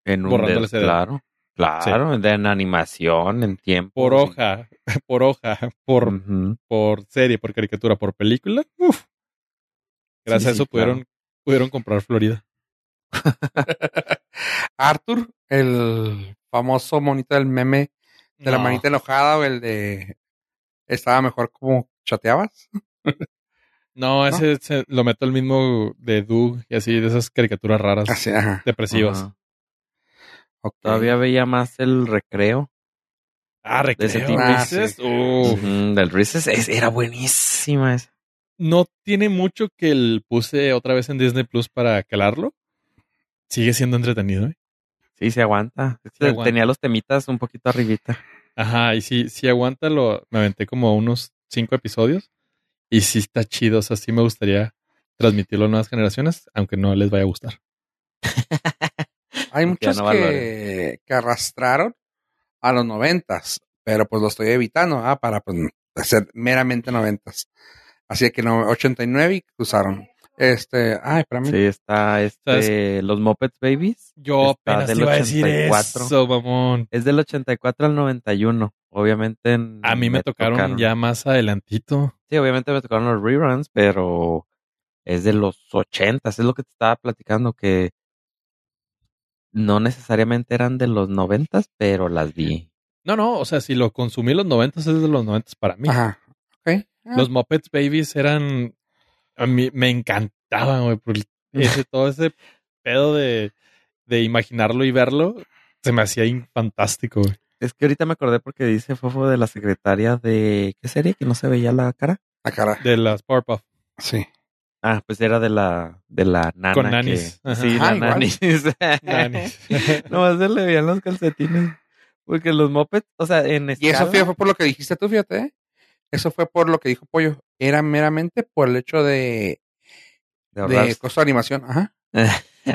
S3: En un
S2: Borrándole
S3: dedo,
S2: ese dedo.
S3: claro. Claro, de- en animación, en tiempo.
S2: Por hoja, por hoja, por,
S3: Ujú.
S2: por serie, por caricatura, por película. Uf. Gracias
S3: Sí,
S2: a
S3: sí,
S2: eso pudieron,
S3: claro.
S2: pudieron comprar Florida.
S1: Arthur, el famoso monito del meme de la
S2: No.
S1: manita enojada o el de estaba mejor como chateabas.
S2: No, ese se- lo meto el mismo de Doug y así, de esas caricaturas raras,
S1: Así, ajá.
S2: depresivas.
S3: Ah, Ajá.
S1: Ok.
S3: Todavía veía más el recreo.
S2: Ah,
S3: De ese
S2: recreo.
S3: tipo.
S1: Ah,
S2: Reese's,
S1: sí.
S2: uf.
S3: Ujú, Del Reese's. Es- Era buenísima esa.
S2: No tiene mucho que el puse otra vez en Disney Plus para calarlo. Sigue siendo entretenido, ¿eh?
S3: Sí, se aguanta. Este
S2: aguanta.
S3: Tenía los temitas un poquito arribita.
S2: Ajá, y si, si aguanta, lo, me aventé como unos cinco episodios. Y sí está chido, o sea, sí me gustaría transmitirlo a nuevas generaciones, aunque no les vaya a gustar.
S1: Hay
S3: Ya
S1: muchos
S3: no
S1: que, que arrastraron a los noventas, pero pues lo estoy evitando, ¿ah? Para pues, hacer meramente noventas. Así que no, 89 y cruzaron. Este, ay, espérame.
S3: Sí, está este, los Muppets Babies.
S2: Yo
S3: Está
S2: apenas
S3: del
S2: te iba a decir
S3: 84.
S2: eso, mamón.
S3: Es del 84 al 91. Obviamente. en-
S2: A mí me, tocaron, ya más adelantito.
S3: Sí, obviamente me tocaron los reruns, pero es de los 80. Es lo que te estaba platicando, que no necesariamente eran de los noventas, pero las vi.
S2: No, no, o sea, si lo consumí en los noventas es de los noventas para mí.
S1: Ajá. Ok. Ah,
S2: Los Muppets Babies eran. A mí me encantaban, güey. por ese- todo ese pedo de, de imaginarlo y verlo se me hacía in- fantástico, güey.
S3: Es que ahorita me acordé porque dice Fofo de la secretaria de... ¿Qué serie? Que no se veía la cara.
S1: la cara.
S2: De las Powerpuff.
S1: Sí.
S3: Ah, pues era de la, de la nana.
S2: Con
S3: que-
S2: nanis. Ajá.
S3: Sí,
S1: Ah,
S3: la
S1: igual.
S3: nanis.
S2: Nanis.
S3: Nomás se le veían los calcetines. Porque los mopeds, o sea, en
S1: Y eso
S3: escala-
S1: fíjate, fue por lo que dijiste tú, fíjate. ¿eh? Eso fue por lo que dijo Pollo. Era meramente por el hecho de,
S3: de
S1: de
S3: ahorrarse.
S1: costo de animación. Ajá.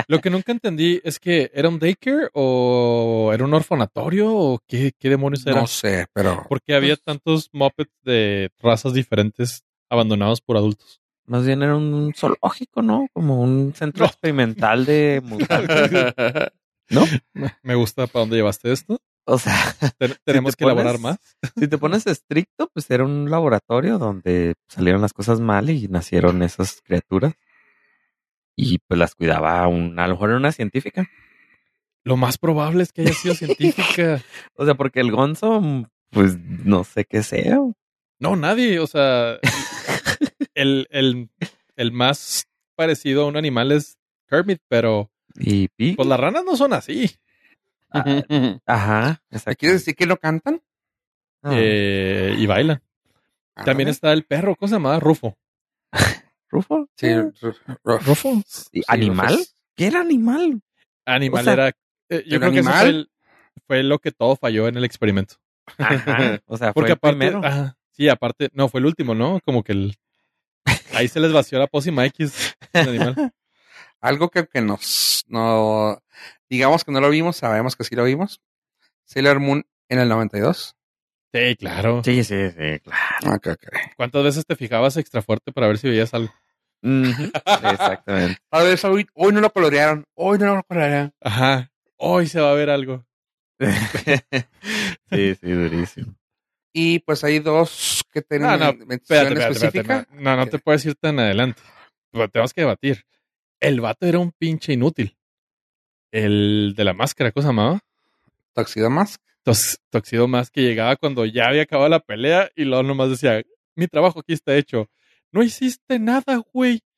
S2: Lo que nunca entendí es que era un daycare o era un orfanatorio o qué, qué demonios era.
S1: No sé, pero.
S2: Porque había tantos Muppets de razas diferentes abandonados por adultos.
S3: Más bien era un zoológico, ¿no? Como un centro
S2: No.
S3: experimental de mutantes, ¿no?
S2: Me gusta para dónde llevaste esto.
S3: O sea,
S2: Ten- tenemos que elaborar
S3: pones-
S2: más.
S3: si te pones estricto, pues era un laboratorio donde salieron las cosas mal y nacieron esas criaturas. Y pues las cuidaba un, a lo mejor era una científica.
S2: Lo más probable es que haya sido científica.
S3: O sea, porque el Gonzo, pues no sé qué sea.
S2: No, nadie. O sea, el, el, el más parecido a un animal es Kermit, pero
S3: Y Pi.
S2: pues las ranas no son así.
S3: Ajá, exacto.
S1: Ah, ¿Quieres decir que no cantan?
S3: Ah,
S2: Eh, y bailan. También está el perro, ¿cómo se llamaba? Rufo.
S3: ¿Rufo?
S1: Sí,
S3: Ah,
S2: ¿Rufo?
S3: sí, ¿Animal? ¿Qué era animal?
S2: Animal
S3: O sea,
S2: era. eh, yo
S1: ¿el
S2: creo que eso
S1: animal?
S2: fue, el- fue lo que todo falló en el experimento.
S3: Ajá. O sea,
S2: Porque
S3: Ah, fue el
S2: aparte, ah,
S3: primero.
S2: ajá, sí, aparte, no, fue el último, ¿no? Como que el, ahí se les vació la pócima X del animal.
S1: Algo que, que nos, no, digamos que no lo vimos, sabemos que sí lo vimos. Sailor Moon en el 92.
S2: Sí, claro.
S3: Sí, sí, sí, claro.
S2: Ah,
S1: Ok, ok.
S2: ¿Cuántas veces te fijabas extra fuerte para ver si veías algo?
S3: Ujú, Exactamente.
S1: A ver, hoy, hoy no lo colorearon, hoy no lo colorearon.
S2: Ajá. Hoy se va a ver algo.
S3: sí, sí, durísimo.
S1: Y pues hay dos que tienen
S2: No, no,
S1: mención
S2: Espérate, espérate, espérate,
S1: específica.
S2: no, no, no te puedes ir tan adelante. Pero tenemos que debatir. El vato era un pinche inútil. El de la máscara, ¿cómo se llamaba?
S1: Tuxedo Mask.
S2: Tos- Toxido más que llegaba cuando ya había acabado la pelea y luego nomás decía, mi trabajo aquí está hecho. No hiciste nada, güey.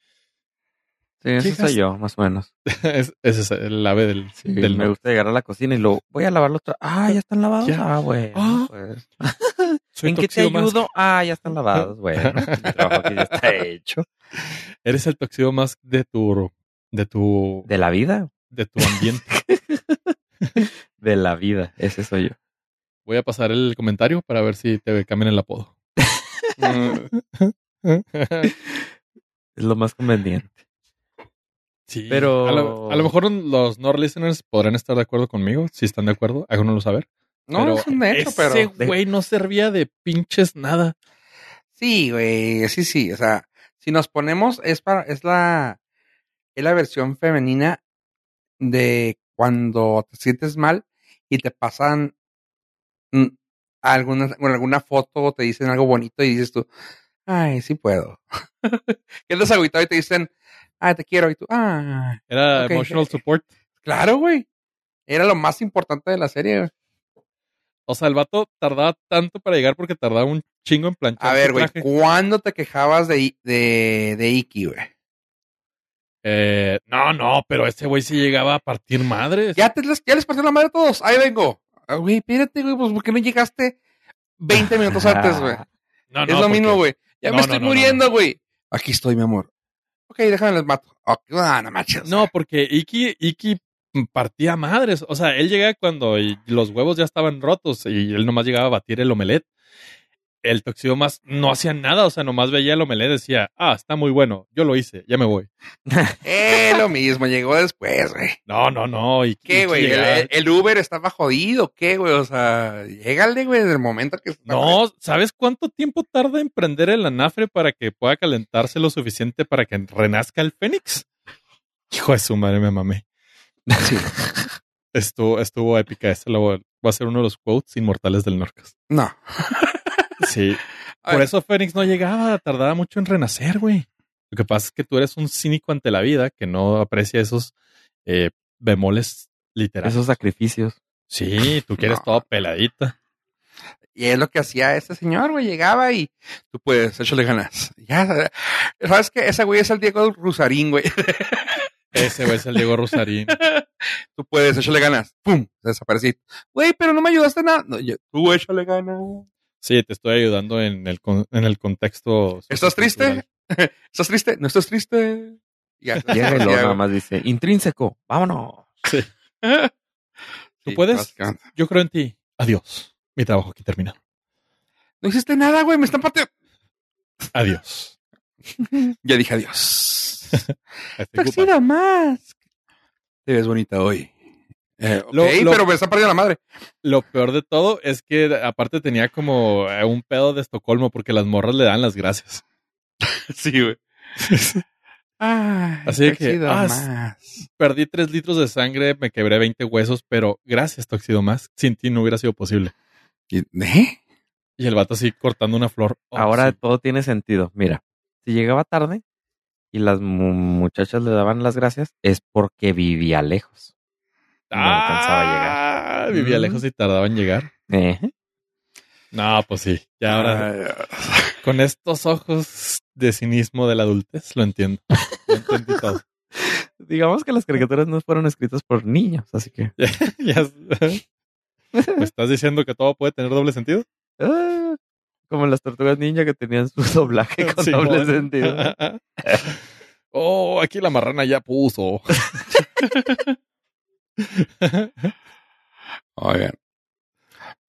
S3: Sí, eso
S2: Chicas.
S3: soy yo, más o menos.
S2: Es- Ese es el ave del,
S3: Sí,
S2: del
S3: me gusta llegar a la cocina y lo voy a lavar los tra- Ah, ya están lavados.
S2: Ya.
S3: Ah, bueno.
S2: Ah.
S3: pues.
S2: Soy
S3: ¿En qué te
S2: Tuxedo Mask.
S3: ayudo? Ah, ya están lavados. Bueno, pues, mi trabajo aquí ya está hecho.
S2: Eres el Toxido más de tu de tu
S3: De la vida.
S2: de tu ambiente.
S3: De la vida. Ese soy yo.
S2: Voy a pasar el comentario para ver si te cambian el apodo.
S3: Es lo más conveniente.
S2: sí,
S3: Pero-
S2: a lo, a lo mejor los no listeners podrán estar de acuerdo conmigo, si están de acuerdo, háganoslo saber.
S1: No,
S2: Pero
S1: es un hecho,
S2: ese
S1: pero.
S2: güey no servía de pinches nada.
S1: Sí, güey, sí, sí. O sea, si nos ponemos, es para, es la, es la versión femenina de cuando te sientes mal y te pasan mm, alguna, bueno, alguna foto o te dicen algo bonito y dices tú, ay, sí puedo. que andas agüitado y te dicen, ay, te quiero. Y tú, ah,
S2: Era
S1: Ok.
S2: emotional support.
S1: claro, güey. Era lo más importante de la serie. güey.
S2: O sea, el vato tardaba tanto para llegar porque tardaba un chingo en planchar.
S1: A
S2: su
S1: ver, güey,
S2: traje.
S1: ¿cuándo te quejabas de, I- de, de Iki, güey?
S2: Eh, no, no, pero ese güey sí llegaba a partir madres.
S1: Ya, te, les- ya les partió la madre a todos. Ahí vengo. Ah, Güey, espérate, güey, pues ¿por qué no llegaste 20 minutos pues antes, güey?
S3: Ah,
S2: No,
S1: es
S2: no,
S1: lo
S2: porque-
S1: mismo, güey. Ya me
S2: No, no,
S1: estoy
S2: no, no,
S1: muriendo,
S2: no.
S1: güey. Aquí estoy, mi amor. Ok, déjame les mato. Ok, ah, no manches.
S2: No, porque Iki, Iki partía madres. O sea, él llegaba cuando y los huevos ya estaban rotos y él nomás llegaba a batir el omelet. El toxido más no hacía nada, o sea, nomás veía el omelet, decía, ah, está muy bueno, yo lo hice, ya me voy.
S1: Eh, lo mismo, llegó después, güey.
S2: No, no, no. Iki-
S1: ¿Qué,
S2: Iki
S1: güey? Eh, El,
S2: llegaba-
S1: el- el Uber estaba jodido, ¿qué, güey? O sea, llégale, güey, desde el momento que...
S2: No, ¿sabes cuánto tiempo tarda en prender el anafre para que pueda calentarse lo suficiente para que renazca el fénix? Hijo de su madre, me mamé. Estuvo, estuvo épica. Este lo voy, va a ser uno de los quotes inmortales del Norcas.
S1: No.
S2: Sí.
S1: A
S2: Por
S1: ver.
S2: eso Fénix no llegaba, tardaba mucho en renacer, güey. Lo que pasa es que tú eres un cínico ante la vida que no aprecia esos eh, bemoles Literal.
S3: Esos sacrificios.
S2: Sí, tú quieres
S1: No.
S2: todo peladita.
S1: Y es lo que hacía este señor, güey. Llegaba y tú puedes, échale ganas. Ya, sabes que ese güey es el Diego Rusarín, güey.
S2: Ese güey es el Diego Rosarín.
S1: Tú puedes, échale ganas. ¡Pum! Desaparecí. Güey, pero no me ayudaste en nada. No, yo, tú échale ganas.
S2: Sí, te estoy ayudando en el, con- en el contexto.
S1: ¿Estás
S2: sociocultural.
S1: ¿Estás triste? ¿No estás triste? Ya,
S3: Llega y
S1: ya,
S3: luego
S1: güey.
S3: nada más dice, intrínseco, vámonos.
S2: ¿Tú
S1: Sí,
S2: puedes?
S1: básicamente.
S2: Yo creo en ti. Adiós. Mi trabajo aquí termina.
S1: No hiciste nada, güey. Me están partiendo.
S2: Adiós.
S1: Ya dije adiós.
S2: I think goodbye.
S1: Tuxedo más. Te ves bonita hoy. Eh,
S2: Lo-
S1: ok,
S2: lo-
S1: pero me está perdiendo la madre.
S2: Lo peor de todo es que aparte tenía como eh, un pedo de Estocolmo porque las morras le dan las gracias.
S1: Sí, güey.
S2: Así
S1: Así
S2: de
S1: que.
S2: que, ah, s- Perdí tres litros de sangre, me quebré 20 huesos, pero gracias, Toxido Más. Sin ti no hubiera sido posible.
S1: ¿Eh?
S2: Y el vato así cortando una flor. Oh,
S3: Ahora
S2: sí.
S3: todo tiene sentido. Mira, si llegaba tarde y las mu- muchachas le daban las gracias, es porque vivía lejos. No alcanzaba a
S2: Ah, Vivía
S1: Mm.
S2: lejos y tardaba en llegar.
S3: llegar. Eh,
S2: No, pues sí. Ya ahora, con estos ojos de cinismo de la adultez, lo entiendo. Lo entendí todo.
S3: Digamos que las caricaturas no fueron escritas por niños, así que.
S2: Ya s- ¿Me estás diciendo que todo puede tener doble sentido?
S3: ah, como las tortugas ninja que tenían su doblaje con doble
S2: Simón.
S3: sentido.
S2: oh, aquí la marrana ya puso.
S1: Oigan.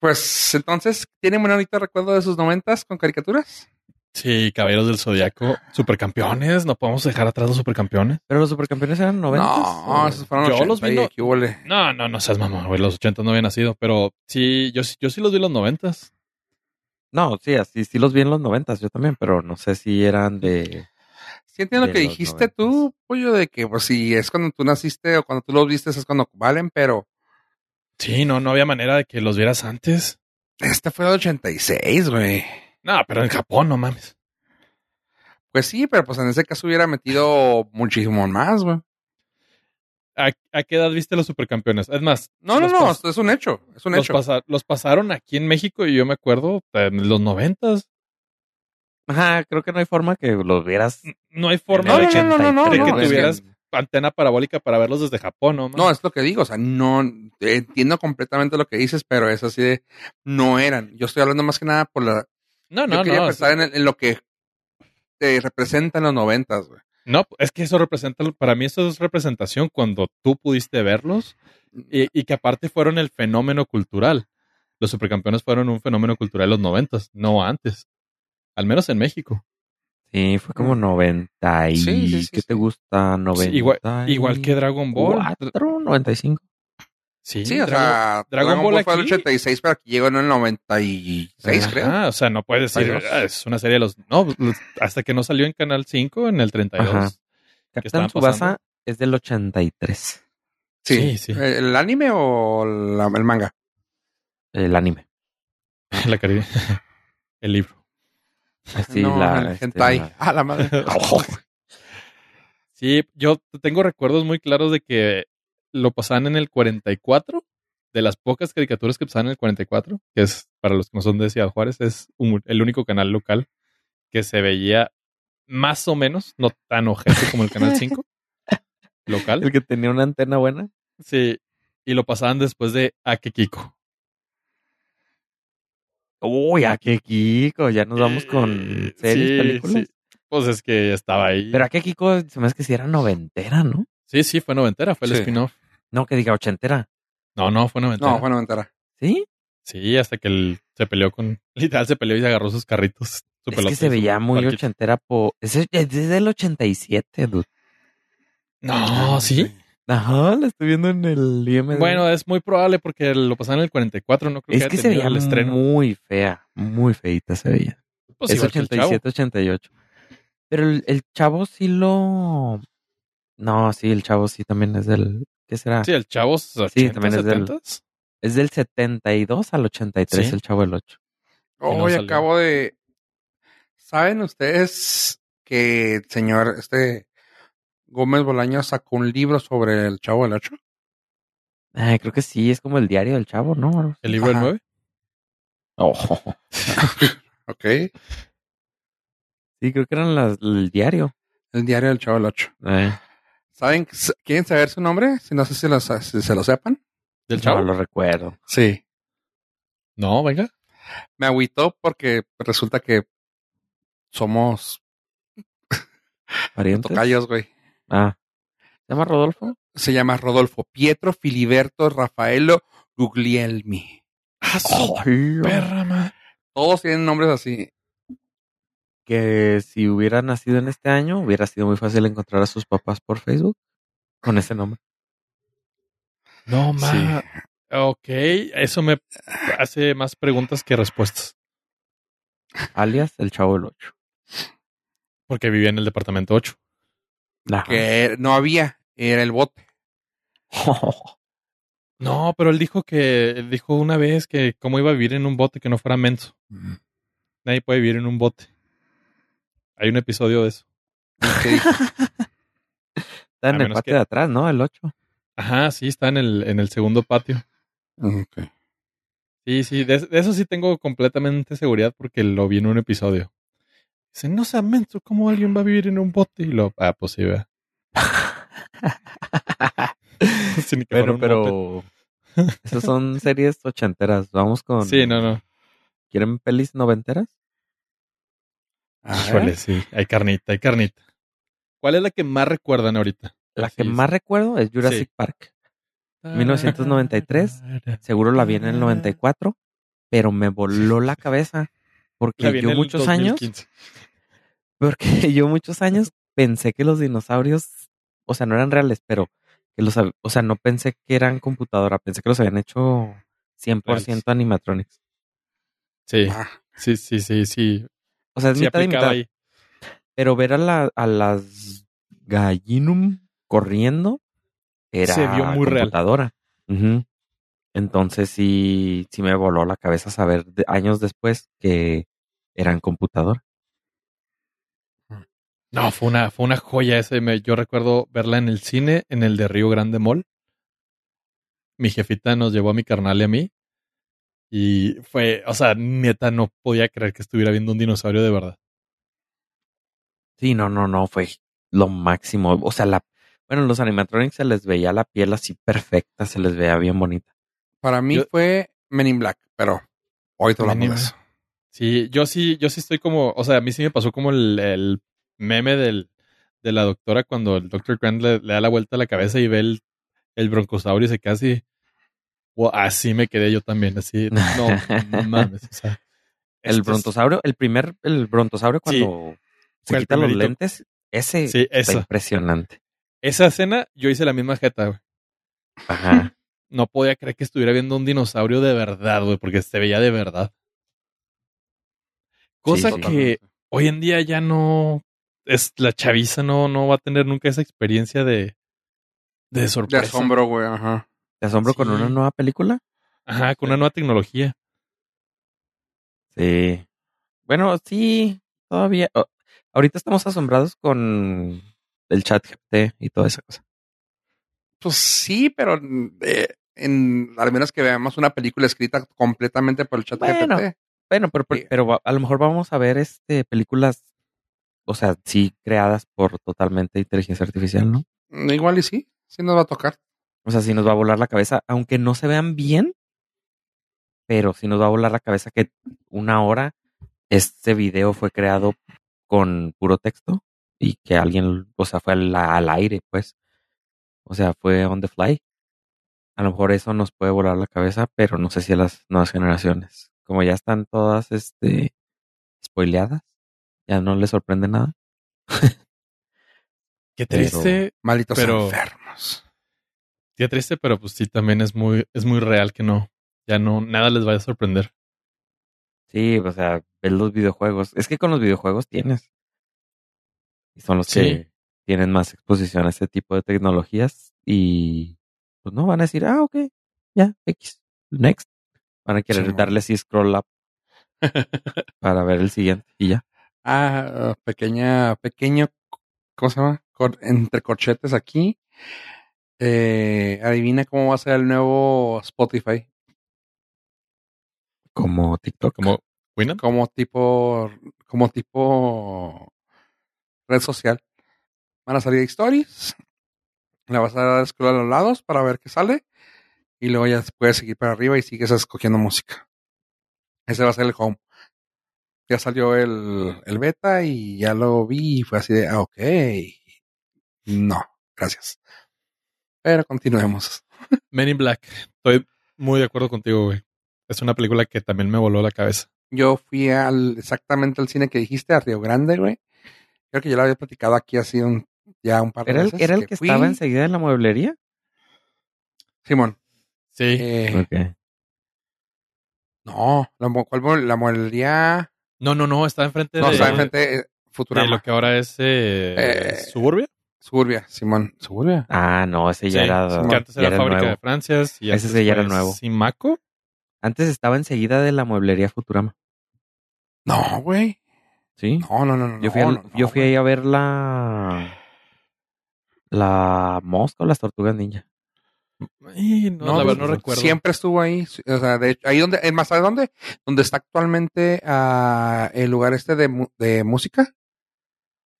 S1: Pues entonces, ¿tienen un bonito recuerdo de sus noventas con caricaturas?
S2: sí, Caballeros del Zodíaco, supercampeones, no podemos dejar atrás los supercampeones.
S3: Pero los supercampeones eran 90.
S1: No, esos fueron
S2: Yo
S1: 80
S2: los vi,
S1: y
S2: no-
S1: ¿qué huele?
S2: No, no, no seas mamón, güey, los 80 no había nacido, pero sí, yo, sí- yo sí los vi los 90.
S3: No, sí, así sí los vi en los noventas, yo también, pero no sé si eran de.
S1: Sí entiendo lo
S3: de
S1: que
S3: los
S1: dijiste tú, pollo, de que pues si es cuando tú naciste o cuando tú los viste es cuando valen, pero
S2: Sí, no, no había manera de que los vieras antes.
S1: este fue el 86, güey.
S2: No, pero en Japón, no mames.
S1: Pues sí, pero pues en ese caso hubiera metido muchísimo más, güey.
S2: ¿A, a qué edad viste los supercampeones? Es más,
S1: No, no,
S2: los
S1: no,
S2: pas-
S1: esto es un hecho, es un
S2: los,
S1: hecho.
S2: pasa- los pasaron aquí en México y yo me acuerdo en los 90.
S3: Ajá, creo que no hay forma que los vieras.
S2: No hay
S1: No,
S2: forma
S1: Mm, no,
S2: de
S1: no,
S2: que
S1: no, no, no,
S2: de que
S1: no, es que-
S2: tuvieras antena parabólica para verlos desde Japón, ¿no?
S1: No, es lo que digo, o sea, no entiendo completamente lo que dices, pero es así de no eran. Yo estoy hablando más que nada por la.
S2: no,
S1: yo
S2: Ah, no,
S1: quería
S2: no.
S1: pensar en, el- en lo que te representan los noventas, güey.
S2: No, es que eso representa, para mí eso es representación cuando tú pudiste verlos
S1: Mm.
S2: y, y que aparte fueron el fenómeno cultural. Los supercampeones fueron un fenómeno cultural en los noventas, no antes. Al menos en México.
S3: Sí, fue como 90 y
S1: Mm. Sí, sí, sí,
S3: ¿qué te
S1: sí.
S3: gusta? 90
S2: Sí, igual, igual que Dragon Ball.
S3: 4, 95.
S2: Sí,
S1: Sí, o
S2: Dragon-
S1: sea,
S2: Dragon
S1: Dragon,
S2: Ball
S1: Ball, fue el
S2: aquí-
S1: 86, pero aquí llegó en el 96,
S3: Ajá.
S1: creo.
S2: Ah, o sea, no puedes decir,
S3: Adiós.
S2: "Ah, es una serie de los... No, los- hasta que no salió en Canal 5 en el 32.
S3: Ajá.
S2: estaban
S3: Capitán
S2: pasando?
S3: Tsubasa es del 83,
S1: Sí,
S2: sí, sí.
S1: ¿El anime o la- el manga?
S3: el anime.
S2: La Caribe. El libro.
S3: Así
S1: no,
S3: la,
S1: el
S3: este,
S1: hentai.
S3: la-
S1: Ah, la madre.
S2: Oh, Sí, yo tengo recuerdos muy claros de que lo pasaban en el 44, de las pocas caricaturas que pasaban en el 44, que es, para los que no son de Ciudad Juárez, es un- el único canal local que se veía más o menos, no tan ojete como el Canal 5,
S3: El
S2: local.
S3: que tenía una antena buena.
S2: Sí, y lo pasaban después de Akekiko.
S3: Uy, a qué Kiko, ya nos vamos con
S2: Eh,
S3: series,
S2: sí,
S3: películas.
S2: sí. Pues es que ya estaba ahí.
S3: Pero a qué Kiko se me hace que si era noventera, ¿no?
S2: Sí, sí, fue noventera, fue el
S1: Sí.
S2: spin-off.
S3: No, que diga ochentera.
S2: No, no, fue noventera.
S1: No, fue noventera.
S3: ¿Sí?
S2: Sí, hasta que él se peleó con. Literal, se peleó y se agarró sus carritos. su
S3: Es
S2: pelota
S3: que
S2: y
S3: se
S2: su
S3: veía muy
S2: barquito.
S3: ochentera. Po... Es, es del 87, dude.
S2: No, sí.
S3: Ajá, la estoy viendo en el IMDb.
S2: Bueno, es muy probable porque lo pasaron en el 44, no creo
S3: es
S2: haya
S3: que se
S2: tenido
S3: veía
S2: el estreno.
S3: muy fea, muy feita se veía.
S2: Pues
S3: es
S2: igual que el
S3: 87, 88. Pero el, el chavo sí lo... No, sí, el chavo sí también es del... ¿Qué será?
S2: chavo. Sí, el chavo es 80,
S3: también es del-
S2: 70s.
S3: Es del 72 al 83
S2: Sí.
S3: el chavo del 8.
S2: Y no
S1: Hoy
S2: salió.
S1: acabo de. ¿Saben ustedes que el señor este Gómez Bolaño sacó un libro sobre el Chavo del Ocho?
S3: Ay, Ah, creo que sí, es como el diario del chavo, ¿no?
S2: ¿El libro
S1: Ajá.
S2: del 9? Oh.
S3: Ojo.
S1: Ok.
S3: Sí, creo que eran las, el diario.
S1: El diario del Chavo del 8.
S3: Eh,
S1: ¿Saben? ¿Quieren saber su nombre? Si no sé si, lo sa- si se lo sepan.
S2: ¿Del
S3: no
S2: chavo?
S3: lo recuerdo.
S1: Sí.
S2: No, venga.
S1: Me agüitó porque resulta que somos
S3: ¿Parientes?
S1: tocayos, güey.
S3: Ah. ¿Se llama Rodolfo?
S1: Se llama Rodolfo Pietro Filiberto Rafaelo Guglielmi.
S2: ¡Ah, su
S3: Oh, Ojo.
S2: perra, ma!
S1: Todos tienen nombres así.
S3: que si hubiera nacido en este año, hubiera sido muy fácil encontrar a sus papás por Facebook con ese nombre.
S2: No, ma.
S1: Sí.
S2: Ok, eso me hace más preguntas que respuestas.
S3: Alias el Chavo del Ocho.
S2: Porque vivía en el departamento 8.
S3: Ajá.
S2: Ah.
S1: Que no había. Era el bote.
S2: No, pero él dijo que, él dijo una vez que cómo iba a vivir en un bote que no fuera menso. Nadie puede vivir en un bote. Hay un episodio de eso.
S1: ¿Qué dijo?
S3: Está
S2: A
S3: en el
S2: menos
S3: patio
S2: que-
S3: de atrás, ¿no? El 8.
S2: Ajá, sí, está en el, en el segundo patio.
S1: Ok.
S2: Sí, sí, de, de eso sí tengo completamente seguridad porque lo vi en un episodio. Dice, no sea menso, ¿cómo alguien va a vivir en un bote? Y lo, ah, pues sí, vea. Sí, ni que fuera
S3: Bueno,
S2: un bote.
S3: pero esas son series ochenteras. Vamos con.
S2: Sí, no, no.
S3: ¿Quieren pelis noventeras?
S1: A ver.
S2: Híjole, sí, hay carnita, hay carnita. ¿Cuál es la que más recuerdan ahorita?
S3: La
S2: Así
S3: que
S2: es.
S3: más recuerdo es Jurassic
S2: Sí.
S3: Park. 1993. Seguro la vi en el 94, pero me voló la cabeza
S2: Ah. La
S3: porque
S2: vi en
S3: yo
S2: el
S3: muchos años
S2: 2015.
S3: Porque yo muchos años pensé que los dinosaurios, o sea, no eran reales, pero que los, hab- o sea, no pensé que eran computadora, pensé que los habían hecho 100%
S2: Reales.
S3: animatronics.
S2: Sí,
S1: Ah,
S2: sí, sí, sí, sí.
S3: O sea, es
S2: Sí
S3: mitad y
S2: aplicaba
S3: mitad.
S2: ahí.
S3: Pero ver a, la- a las gallinum corriendo era
S2: Se vio muy real.
S3: computadora. Ujú. Entonces sí, sí me voló la cabeza saber de- años después que eran computadora.
S2: No, fue una, fue una joya ese. me- yo recuerdo verla en el cine, en el de Río Grande Mall. Mi jefita nos llevó a mi carnal y a mí. Y fue, o sea, neta, no podía creer que estuviera viendo un dinosaurio de verdad.
S3: Sí, no, no, no, fue lo máximo. O sea, la, bueno, los animatronics se les veía la piel así perfecta, se les veía bien bonita.
S1: para mí
S2: Yo-
S1: fue Men in Black, pero hoy te hablamos
S2: Men
S1: de
S2: in
S1: eso.
S2: Sí, yo sí, yo sí estoy como, o sea, a mí sí me pasó como el, el meme del, de la doctora cuando el Dr. Grant le, le da la vuelta a la cabeza y ve el, el broncosaurio y se casi, así me quedé yo también, así, no mames, o sea.
S3: El
S2: esto es-
S3: brontosaurio, el primer, el brontosaurio
S2: Sí,
S3: cuando se
S2: fue el
S3: quita los
S2: primerito.
S3: lentes, ese
S2: Sí,
S3: está
S2: esa.
S3: impresionante.
S2: Esa escena, yo hice la misma jeta, güey.
S3: Ajá.
S2: No podía creer que estuviera viendo un dinosaurio de verdad, güey, porque se veía de verdad. Cosa
S3: Sí, sí.
S2: que hoy en día ya no es la chaviza no no va a tener nunca esa experiencia de de
S1: De
S2: sorpresa.
S1: asombro, güey. Ajá.
S3: ¿Te asombro con
S2: Sí.
S3: una nueva película?
S2: Ajá, con una nueva tecnología.
S3: Sí. Bueno, sí, todavía. oh, ahorita estamos asombrados con el chat GPT y toda esa cosa.
S1: Pues sí, pero eh, en, al menos que veamos una película escrita completamente por el chat
S3: Bueno.
S1: GPT.
S3: Bueno, pero, pero,
S1: Sí.
S3: pero va- a lo mejor vamos a ver este películas, o sea, sí creadas por totalmente inteligencia artificial, ¿no?
S1: Mm, Igual y sí, sí nos va a tocar.
S3: O sea, sí nos va a volar la cabeza, aunque no se vean bien, pero sí nos va a volar la cabeza que una hora este video fue creado con puro texto y que alguien, o sea, fue al, al aire, pues. O sea, fue on the fly. A lo mejor eso nos puede volar la cabeza, pero no sé si a las nuevas generaciones, como ya están todas, este, spoileadas, ya no les sorprende nada.
S2: Qué
S3: Pero-
S2: triste,
S1: Malditos
S2: Pero-
S1: enfermos.
S2: qué triste, pero pues sí también es muy es muy real que no ya no nada les vaya a sorprender.
S3: Sí, o sea, ves los videojuegos. Es que con los videojuegos tienes. Y son los
S2: Sí.
S3: que tienen más exposición a este tipo de tecnologías. Y pues no van a decir, ah, ok, ya, X, next. Van a querer
S1: Simón.
S3: darle así scroll up para ver el siguiente y ya.
S1: Ah, pequeña, pequeño, ¿cómo se llama? Cor- entre corchetes aquí. Eh, adivina cómo va a ser el nuevo Spotify.
S3: Como TikTok.
S2: Como Winamp.
S1: Como tipo, como tipo red social. Van a salir stories. La vas a dar a scroll a los lados para ver qué sale. Y luego ya puedes seguir para arriba y sigues escogiendo música. Ese va a ser el home. Ya salió el, el beta y ya lo vi y fue así de, ah, ok. No, gracias. Pero continuemos.
S2: Men in Black. Estoy muy de acuerdo contigo, güey. Es una película que también me voló la cabeza.
S1: Yo fui al exactamente al cine que dijiste, a Río Grande, güey. Creo que ya lo había platicado aquí así un, ya un par de
S3: ¿Era el,
S1: veces.
S3: era el que,
S1: fui.
S3: estaba enseguida en la mueblería?
S1: Simón.
S2: Sí.
S1: eh, no, la, mo- ¿cuál mo- la molería.
S2: no, no, no. Está enfrente
S1: No,
S2: de,
S1: está enfrente eh,
S2: de
S1: Futurama.
S2: lo que ahora es eh,
S1: Eh,
S2: Suburbia.
S1: Suburbia, Simón. Suburbia.
S3: Ah, no, ese ya
S2: Sí,
S3: era.
S2: que antes
S3: ya
S2: era,
S3: era el
S2: Fábrica
S3: nuevo.
S2: de Francias. Y
S3: Ese
S2: antes
S3: sí ya era
S2: fue
S3: nuevo.
S2: Simaco.
S3: Antes estaba enseguida de la mueblería Futurama.
S1: No, güey.
S3: Sí.
S1: No, no, no, no.
S3: yo fui, al-
S1: no, no,
S3: yo fui
S1: güey.
S3: ahí a ver la. La mosca o las tortugas ninja.
S2: Y no,
S1: No,
S2: la
S1: pues,
S2: verdad no recuerdo.
S1: Siempre estuvo ahí. O sea, de hecho, ahí donde, es más, ¿sabes dónde? Donde está actualmente ah, el lugar este de, mu- de música.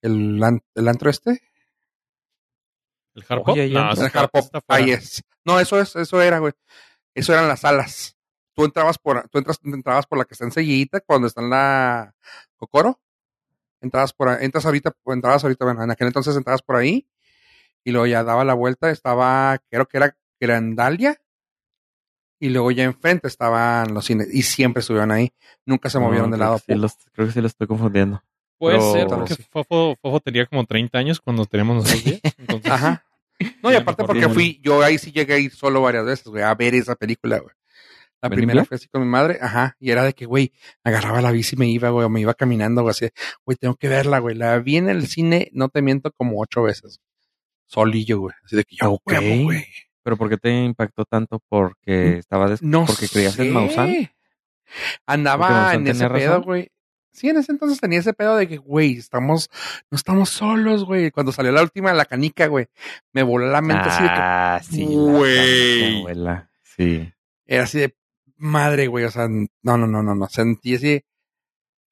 S1: El, an- el antro este.
S2: ¿El Hard Pop?
S3: Oye, ya
S2: No,
S3: no.
S2: ese
S1: el
S2: está-
S1: Hard Pop.
S2: ese está fuera.
S1: Ahí es. No, eso es, eso era, güey. Eso eran las salas. Tú entrabas por, tú entras, entrabas por la que está enseguida, cuando está en la Cocoro. Entrabas por, ahí- entras ahorita, entrabas ahorita, bueno, en aquel entonces entrabas por ahí. Y luego ya daba la vuelta, estaba, creo que era Grandalia. Y luego ya enfrente estaban los cines. Y siempre estuvieron ahí. Nunca se movieron
S3: No,
S1: de
S3: creo
S1: lado.
S3: que sí los- creo que sí lo estoy confundiendo.
S2: Puede
S3: Pero-
S2: ser, porque
S1: Sí.
S2: Fofo, Fofo tenía como 30 años cuando teníamos nosotros 10. Entonces,
S1: Ajá. No, y
S2: Sí,
S1: aparte
S2: mejor
S1: porque
S2: tiene.
S1: fui, yo ahí sí llegué a ir solo varias veces, güey, a ver esa película, güey. La
S3: ¿Men in
S1: primera
S3: Black?
S1: fue así con mi madre, ajá, y era de que, güey, agarraba la bici y me iba, güey, o me iba caminando, güey, así, de, güey, tengo que verla, güey. La vi en el cine, no te miento, como ocho veces. Solillo, güey. Así de que yo,
S3: Ok.
S1: huevo, güey.
S3: ¿Pero por qué te impactó tanto? Porque estaba des-
S1: No
S3: Porque creías en Maussan.
S1: sé. Andaba
S3: Porque Maussan
S1: en ese
S3: tenía
S1: pedo,
S3: razón.
S1: güey. Sí, en ese entonces tenía ese pedo de que, güey, estamos, no estamos solos, güey. Cuando salió la última, la canica, güey, me voló la mente así de que,
S3: Ah, sí. la- la
S1: Güey.
S3: abuela. Sí.
S1: Era así de madre, güey. O sea, no, no, no, no, no. Sentí así.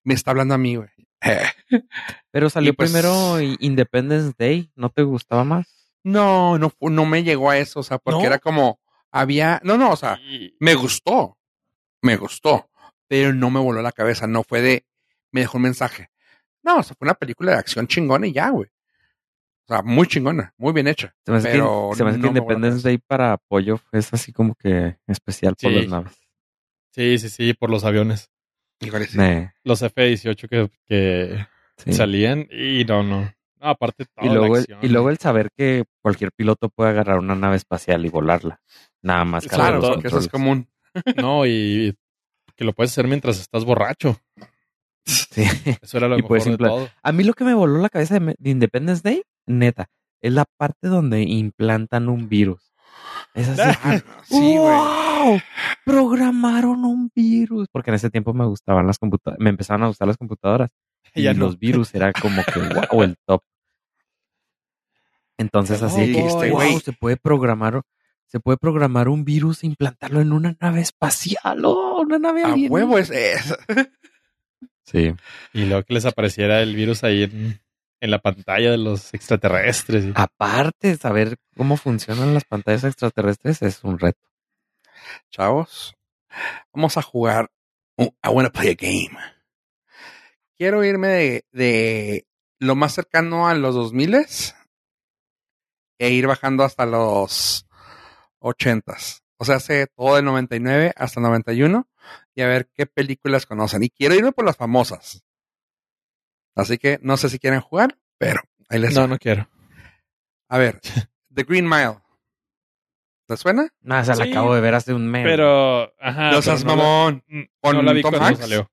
S1: Me está hablando a mí, güey. Eh,
S3: Pero salió
S1: Y pues-
S3: primero i- Independence Day. ¿No te gustaba más?
S1: No, no, fu- no me llegó a eso. O sea, porque
S2: ¿No?
S1: era como había. No, no, o sea,
S2: y-
S1: me gustó. Me gustó. Pero no me voló la cabeza. No fue de. Me dejó un mensaje. No, o sea, fue una película de acción chingona y ya, güey. O sea, muy chingona, muy bien hecha.
S3: Se me hace
S1: Pero
S3: que, se me hace que
S1: no me voló la
S3: Independence
S1: cabeza.
S3: Day para apoyo es así como que especial por
S2: Sí.
S3: las naves.
S2: sí, sí, sí, por los aviones.
S1: Híjole, sí.
S3: Ne,
S2: Los F-18 que, que
S3: sí.
S2: salían y no, no. No, aparte toda
S1: Oh,
S3: Y
S2: la
S3: luego, el,
S2: acción.
S3: y luego el saber que cualquier piloto puede agarrar una nave espacial y volarla. Nada más
S2: Sobre
S3: cargar
S1: Claro,
S3: los
S2: todo-
S1: porque eso es
S3: controles.
S1: común.
S2: No, y, y que lo puedes hacer mientras estás borracho.
S3: Sí.
S2: Eso era lo
S3: Y
S2: mejor
S3: puedes
S2: de
S3: impla-
S2: todo.
S3: A mí lo que me voló la cabeza de Me- de Independence Day, neta, es la parte donde implantan un virus. Es así.
S1: Ah,
S3: que,
S1: no, sí, güey.
S3: ¡Wow! Programaron un virus. Porque en ese tiempo me gustaban las computadoras, me empezaban a gustar las computadoras. Y
S2: Ya no.
S3: los virus era como que wow, el top. Entonces
S2: No,
S3: así de que,
S1: dijiste,
S3: wow,
S1: güey.
S3: se puede programar, se puede programar un virus e implantarlo en una nave espacial, ¡oh! una nave
S1: A
S3: alienígena.
S2: eh.
S1: huevo es. es-
S3: Sí.
S2: Y luego que les apareciera el virus ahí en, en la pantalla de los extraterrestres.
S1: Ah,
S2: y-
S3: Aparte, saber cómo funcionan las pantallas extraterrestres es un reto.
S1: chavos, vamos a jugar. un- I wanna play a game. Quiero irme de, de lo más cercano a los 2000 e ir bajando hasta los 80s. O sea, hace todo del 99 hasta el 91 y a ver qué películas conocen. Y quiero irme por las famosas. Así que no sé si quieren jugar, pero ahí les
S2: No, no quiero.
S1: A ver, The Green Mile. ¿Te suena?
S3: No, o sea,
S2: Sí,
S3: la acabo de ver hace un mes.
S2: Pero, ajá.
S1: no
S2: Ah, pero
S1: seas
S2: no la-
S1: mamón.
S2: n-
S1: Con
S2: no la vi
S1: Tom
S2: cuando
S1: Hanks.
S2: salió.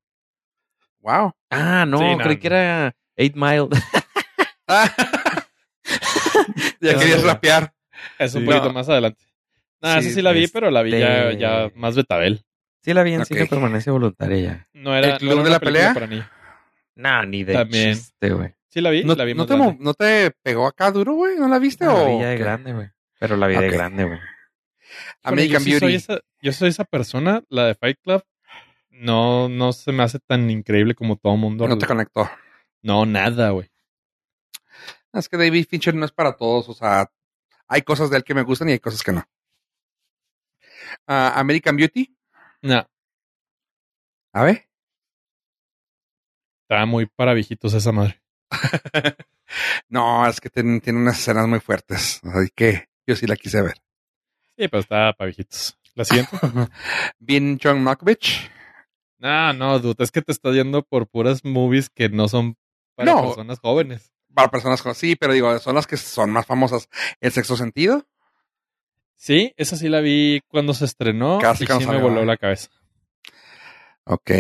S1: Wow.
S3: Ah, no,
S2: Sí, no,
S3: creí
S2: no.
S3: que era Eight Mile.
S1: ya
S3: No,
S1: querías
S3: no, no.
S1: rapear.
S2: Es un
S1: Sí.
S2: poquito
S1: No.
S2: más adelante. No,
S1: Sí,
S2: esa sí la vi, pero la vi ya,
S3: este-
S2: ya más betabel.
S3: sí, la vi en cine
S1: Ok.
S3: permanencia voluntaria ya.
S2: No era,
S1: ¿El Club
S2: no
S1: de
S2: era una
S1: la
S2: película
S1: Pelea?
S2: para niños.
S3: No, ni de
S2: También.
S3: chiste, güey.
S2: Sí la vi,
S1: ¿No,
S2: la vi
S1: no
S2: más
S1: te, mo-
S2: grande.
S1: no te pegó acá duro, güey? ¿No la viste?
S3: No, la
S1: o
S3: vi ya de
S1: qué?
S3: grande, güey. Pero la vida
S1: Ok.
S3: es grande, güey.
S2: Híjole,
S1: American
S2: yo sí
S1: Beauty.
S2: Soy esa, yo soy esa persona, la de Fight Club. No, no se me hace tan increíble como todo mundo.
S1: No te conectó.
S2: No, nada, güey.
S1: Es que David Fincher no es para todos, o sea, hay cosas de él que me gustan y hay cosas que no. Ah, American Beauty,
S2: No,
S1: a ver.
S2: está muy para viejitos esa madre.
S1: No, es que tiene, tiene unas escenas muy fuertes, así que yo sí la quise ver.
S2: Sí, pero está para viejitos. La siguiente.
S1: Bien John Malkovich.
S2: no, no, dude, es que te estás yendo por puras movies que no son para
S1: No.
S2: personas jóvenes.
S1: Para personas con... Sí, pero digo, son las que son más famosas. El sexto sentido.
S2: Sí, esa sí la vi cuando se estrenó
S1: Casi
S2: y
S1: cuando
S2: sí me
S1: salió,
S2: voló
S1: ¿eh?
S2: la cabeza.
S1: Ok.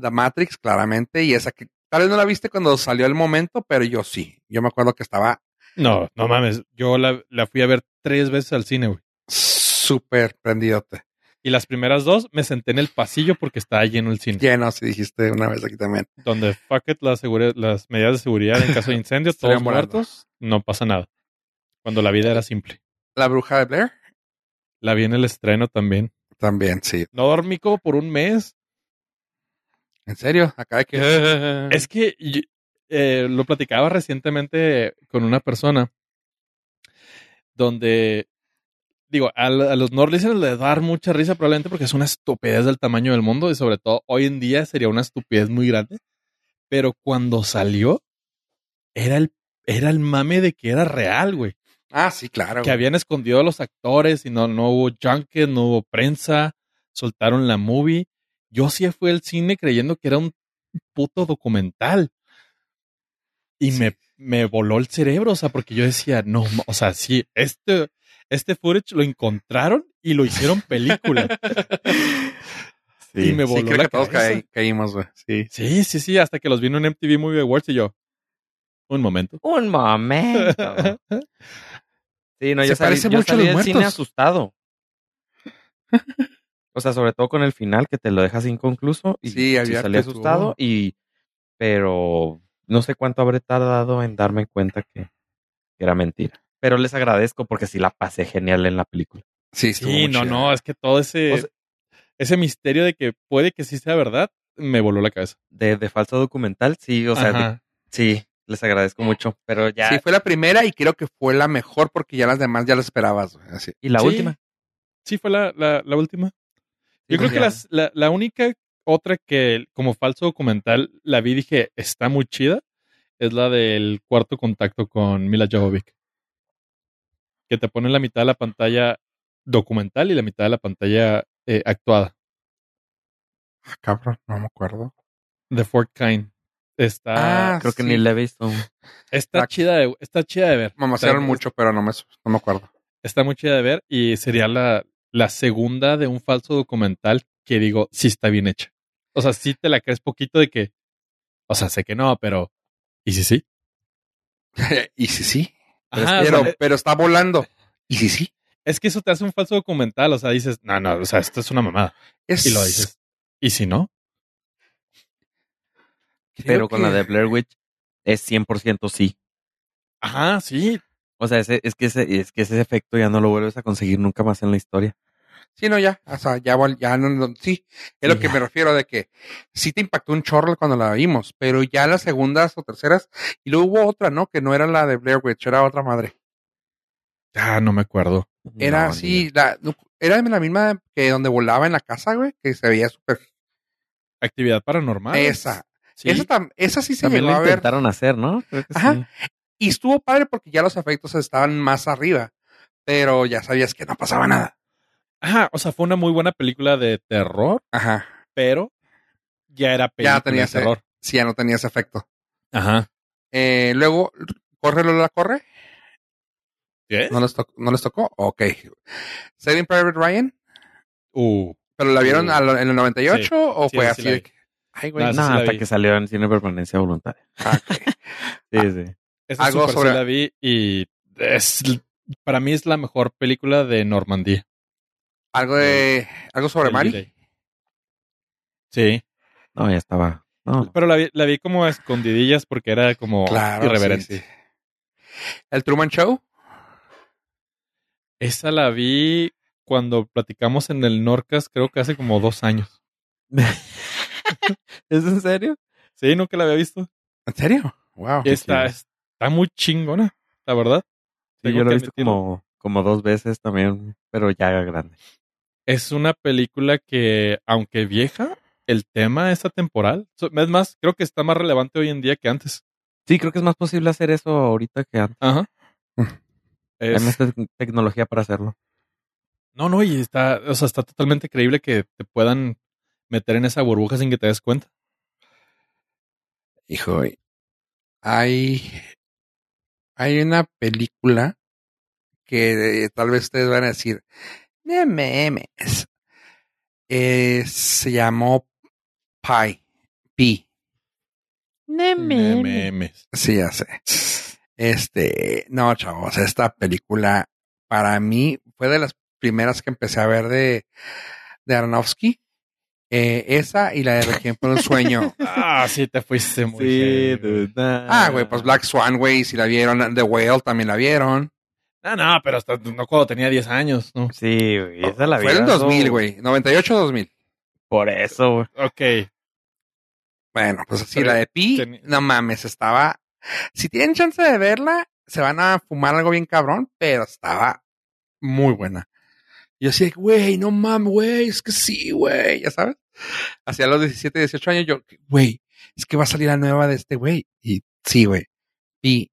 S1: The Matrix, claramente. Y esa que tal vez no la viste cuando salió el momento, pero yo sí. Yo me acuerdo que estaba
S2: No, no mames, yo la, la fui a ver tres veces al cine, güey.
S1: súper prendidote.
S2: Y las primeras dos me senté en el pasillo porque estaba lleno el cine.
S1: Lleno, si dijiste una vez aquí también.
S2: Donde fuck it, la segure- las medidas de seguridad en caso de incendios, todos
S1: Salían volando.
S2: muertos, no pasa nada. Cuando la vida era simple.
S1: La bruja de Blair.
S2: La vi en el estreno también.
S1: También, sí.
S2: No dormí como por un mes.
S1: ¿En serio? Acá hay que...
S2: Es que yo- eh, lo platicaba recientemente con una persona donde, digo, a, la- a los nordlisteners les va a dar mucha risa probablemente porque es una estupidez del tamaño del mundo y sobre todo hoy en día sería una estupidez muy grande. Pero cuando salió, era el, era el mame de que era real, güey.
S1: Ah, sí, claro.
S2: Que habían escondido a los actores y no, no hubo junket, no hubo prensa, soltaron la movie. Yo sí fui al cine creyendo que era un puto documental. Y me, me voló el cerebro, o sea, porque yo decía, no, ma- o sea, sí, este, este footage lo encontraron y lo hicieron película.
S3: Sí.
S2: y me voló
S1: sí, creo
S2: la
S1: que todos
S2: cabeza.
S1: caí- caímos, güey. Sí.
S2: Sí, sí, sí, hasta que los vi en un MTV Movie Awards y yo, un momento.
S3: Un momento. Sí, no,
S1: Se
S3: yo salí,
S1: parece
S3: yo
S1: mucho a
S3: salí
S1: los
S3: del cine
S1: muertos.
S3: asustado. O sea, sobre todo con el final que te lo dejas inconcluso. Y
S1: Sí, había
S3: salí
S1: que
S3: asustado
S1: estuvo.
S3: y... Pero no sé cuánto habré tardado en darme cuenta que, que era mentira. Pero les agradezco porque sí la pasé genial en la película.
S1: Sí, estuvo
S2: Sí,
S1: muy
S2: no,
S1: chida.
S2: no, es que todo ese,
S3: O sea-
S2: ese misterio de que puede que sí sea verdad, me voló la cabeza.
S3: De, de falso documental, sí, o sea, de-
S2: Ajá.
S3: sí, les agradezco mucho. Pero ya...
S1: Sí, fue la primera y creo que fue la mejor porque ya las demás ya las esperabas, güey. Así.
S3: Y la
S2: Sí,
S3: última.
S2: Sí, fue la, la- la última. Yo
S3: Sí,
S2: creo
S3: ya.
S2: que las- la, la única otra que como falso documental la vi y dije está muy chida es la del cuarto contacto con Mila Jovovich. Que te pone la mitad de la pantalla documental y la mitad de la pantalla eh, actuada.
S1: Ah, cabrón, no me acuerdo.
S2: The Fourth Kind. Está,
S1: Ah,
S3: Creo que
S1: sí.
S3: ni la he visto.
S2: está
S1: la-
S2: chida de, está chida de ver.
S1: Me
S2: Está-
S1: emocionaron mucho, pero no me, no me acuerdo.
S2: está muy chida de ver y sería la, la segunda de un falso documental que digo, sí está bien hecha. O sea, sí te la crees poquito de que, o sea, sé que no, pero... ¿Y si sí?
S1: y sí, sí.
S2: Ajá, o
S1: pero,
S2: sea, eh
S1: pero está volando. Y sí, sí.
S2: es que eso te hace un falso documental, o sea, dices, no, no, o sea, esto es una mamada.
S1: Es,
S2: Y lo dices. ¿Y si no?
S1: creo
S3: Pero con
S1: que-
S3: la de Blair Witch es 100% sí.
S2: Ajá, sí.
S3: O sea, ese- es, que ese, es que ese efecto ya no lo vuelves a conseguir nunca más en la historia.
S1: Sí, no, ya. O sea, ya, vol- ya no, no- sí. Es lo
S3: Sí,
S1: que
S3: ya.
S1: me refiero de que sí te impactó un chorro cuando la vimos, pero ya las segundas o terceras. Y luego hubo otra, ¿no? Que no era la de Blair Witch, era otra madre.
S2: Ah, no me acuerdo.
S1: Era
S3: No,
S1: así, la, no, era la misma que donde volaba en la casa, güey, que se veía súper.
S2: Actividad paranormal.
S1: esa.
S2: Sí.
S1: Esa, tam- esa sí
S3: ni-
S1: se
S3: Ah, También
S1: llegó
S3: lo
S1: a ver.
S3: intentaron hacer, ¿no? Creo que
S1: Ajá.
S3: sí.
S1: Y estuvo padre porque ya los efectos estaban más arriba. Pero ya sabías que no pasaba nada.
S2: Ajá, o sea, fue una muy buena película de terror,
S1: Ajá.
S2: pero ya era película
S1: Ya tenía
S2: de
S1: ese-
S2: terror.
S1: Sí, ya no tenía ese efecto.
S2: Ajá.
S1: Eh, luego, ¿corre Lola corre?
S2: ¿Qué?
S1: ¿No les, tocó, ¿No les tocó? Ok. Saving Private Ryan,
S2: Uh,
S1: ¿pero la vieron
S2: Sí.
S1: a lo- en el 98 o
S2: sí,
S1: fue
S2: sí
S1: así
S2: la
S1: de
S2: vi.
S1: que- Ay, güey. no.
S2: No, sí
S3: No,
S2: la
S3: hasta
S2: vi.
S3: que salió en cine permanencia voluntaria.
S1: Ah, ok.
S3: Sí, sí.
S2: Esa
S1: Algo
S2: super sí
S1: sobre-
S2: la vi y es, para mí es la mejor película de Normandía.
S1: ¿Algo, de, ¿Algo sobre
S2: Del
S1: Mari?
S2: D-Day. Sí,
S3: No, ya estaba. No.
S2: pero la vi, la vi como a escondidillas porque era como
S1: Ah. Claro, sí,
S2: irreverente.
S1: sí. ¿El Truman Show?
S2: Esa la vi cuando platicamos en el Norcas, creo que hace como dos años.
S3: ¿Es en serio?
S2: Sí, nunca la había visto.
S1: ¿En serio? Wow.
S2: Y está, está muy chingona, la verdad.
S3: Sí,
S2: Tengo
S3: yo lo
S2: que
S3: he visto
S2: admitirlo.
S3: como, como dos veces también, pero ya grande.
S2: Es una película que, aunque vieja, el tema es atemporal. So- Es más, creo que está más relevante hoy en día que antes.
S3: Sí, creo que es más posible hacer eso ahorita que antes.
S2: Ajá.
S3: Hay
S2: Es-
S3: más tec- tecnología para hacerlo.
S2: no, no, y está, o sea, está totalmente creíble que te puedan meter en esa burbuja sin que te des cuenta.
S1: Hijo, y- hay, hay una película que eh, tal vez ustedes van a decir, no memes. Eh, se llamó Pi. Pi.
S2: Memes.
S1: Sí, ya sé. Este, no, chavos, esta película para mí fue de las primeras que empecé a ver de, de Aronofsky. Eh, esa y la de Requiem por un sueño.
S2: Ah, sí, te fuiste muy heavy, güey.
S1: Ah, güey, pues Black Swan, güey, si la vieron, The Whale también la vieron.
S2: No, no, pero hasta no cuando tenía 10 años, ¿no?
S3: Sí, güey, esa la vi.
S1: Fue en el
S3: hace-
S1: 2000, güey, 98-2000.
S3: Por eso, güey.
S2: Ok.
S1: Bueno, pues sí,
S2: Pero
S1: la de Pi,
S2: teni-
S1: no mames, estaba... Si tienen chance de verla, se van a fumar algo bien cabrón, pero estaba muy buena. Yo así, de que, güey, no mames, güey, es que sí, güey, ya sabes. Hacia los 17, 18 años yo, güey, es que va a salir la nueva de este güey. Y sí, güey, Pi.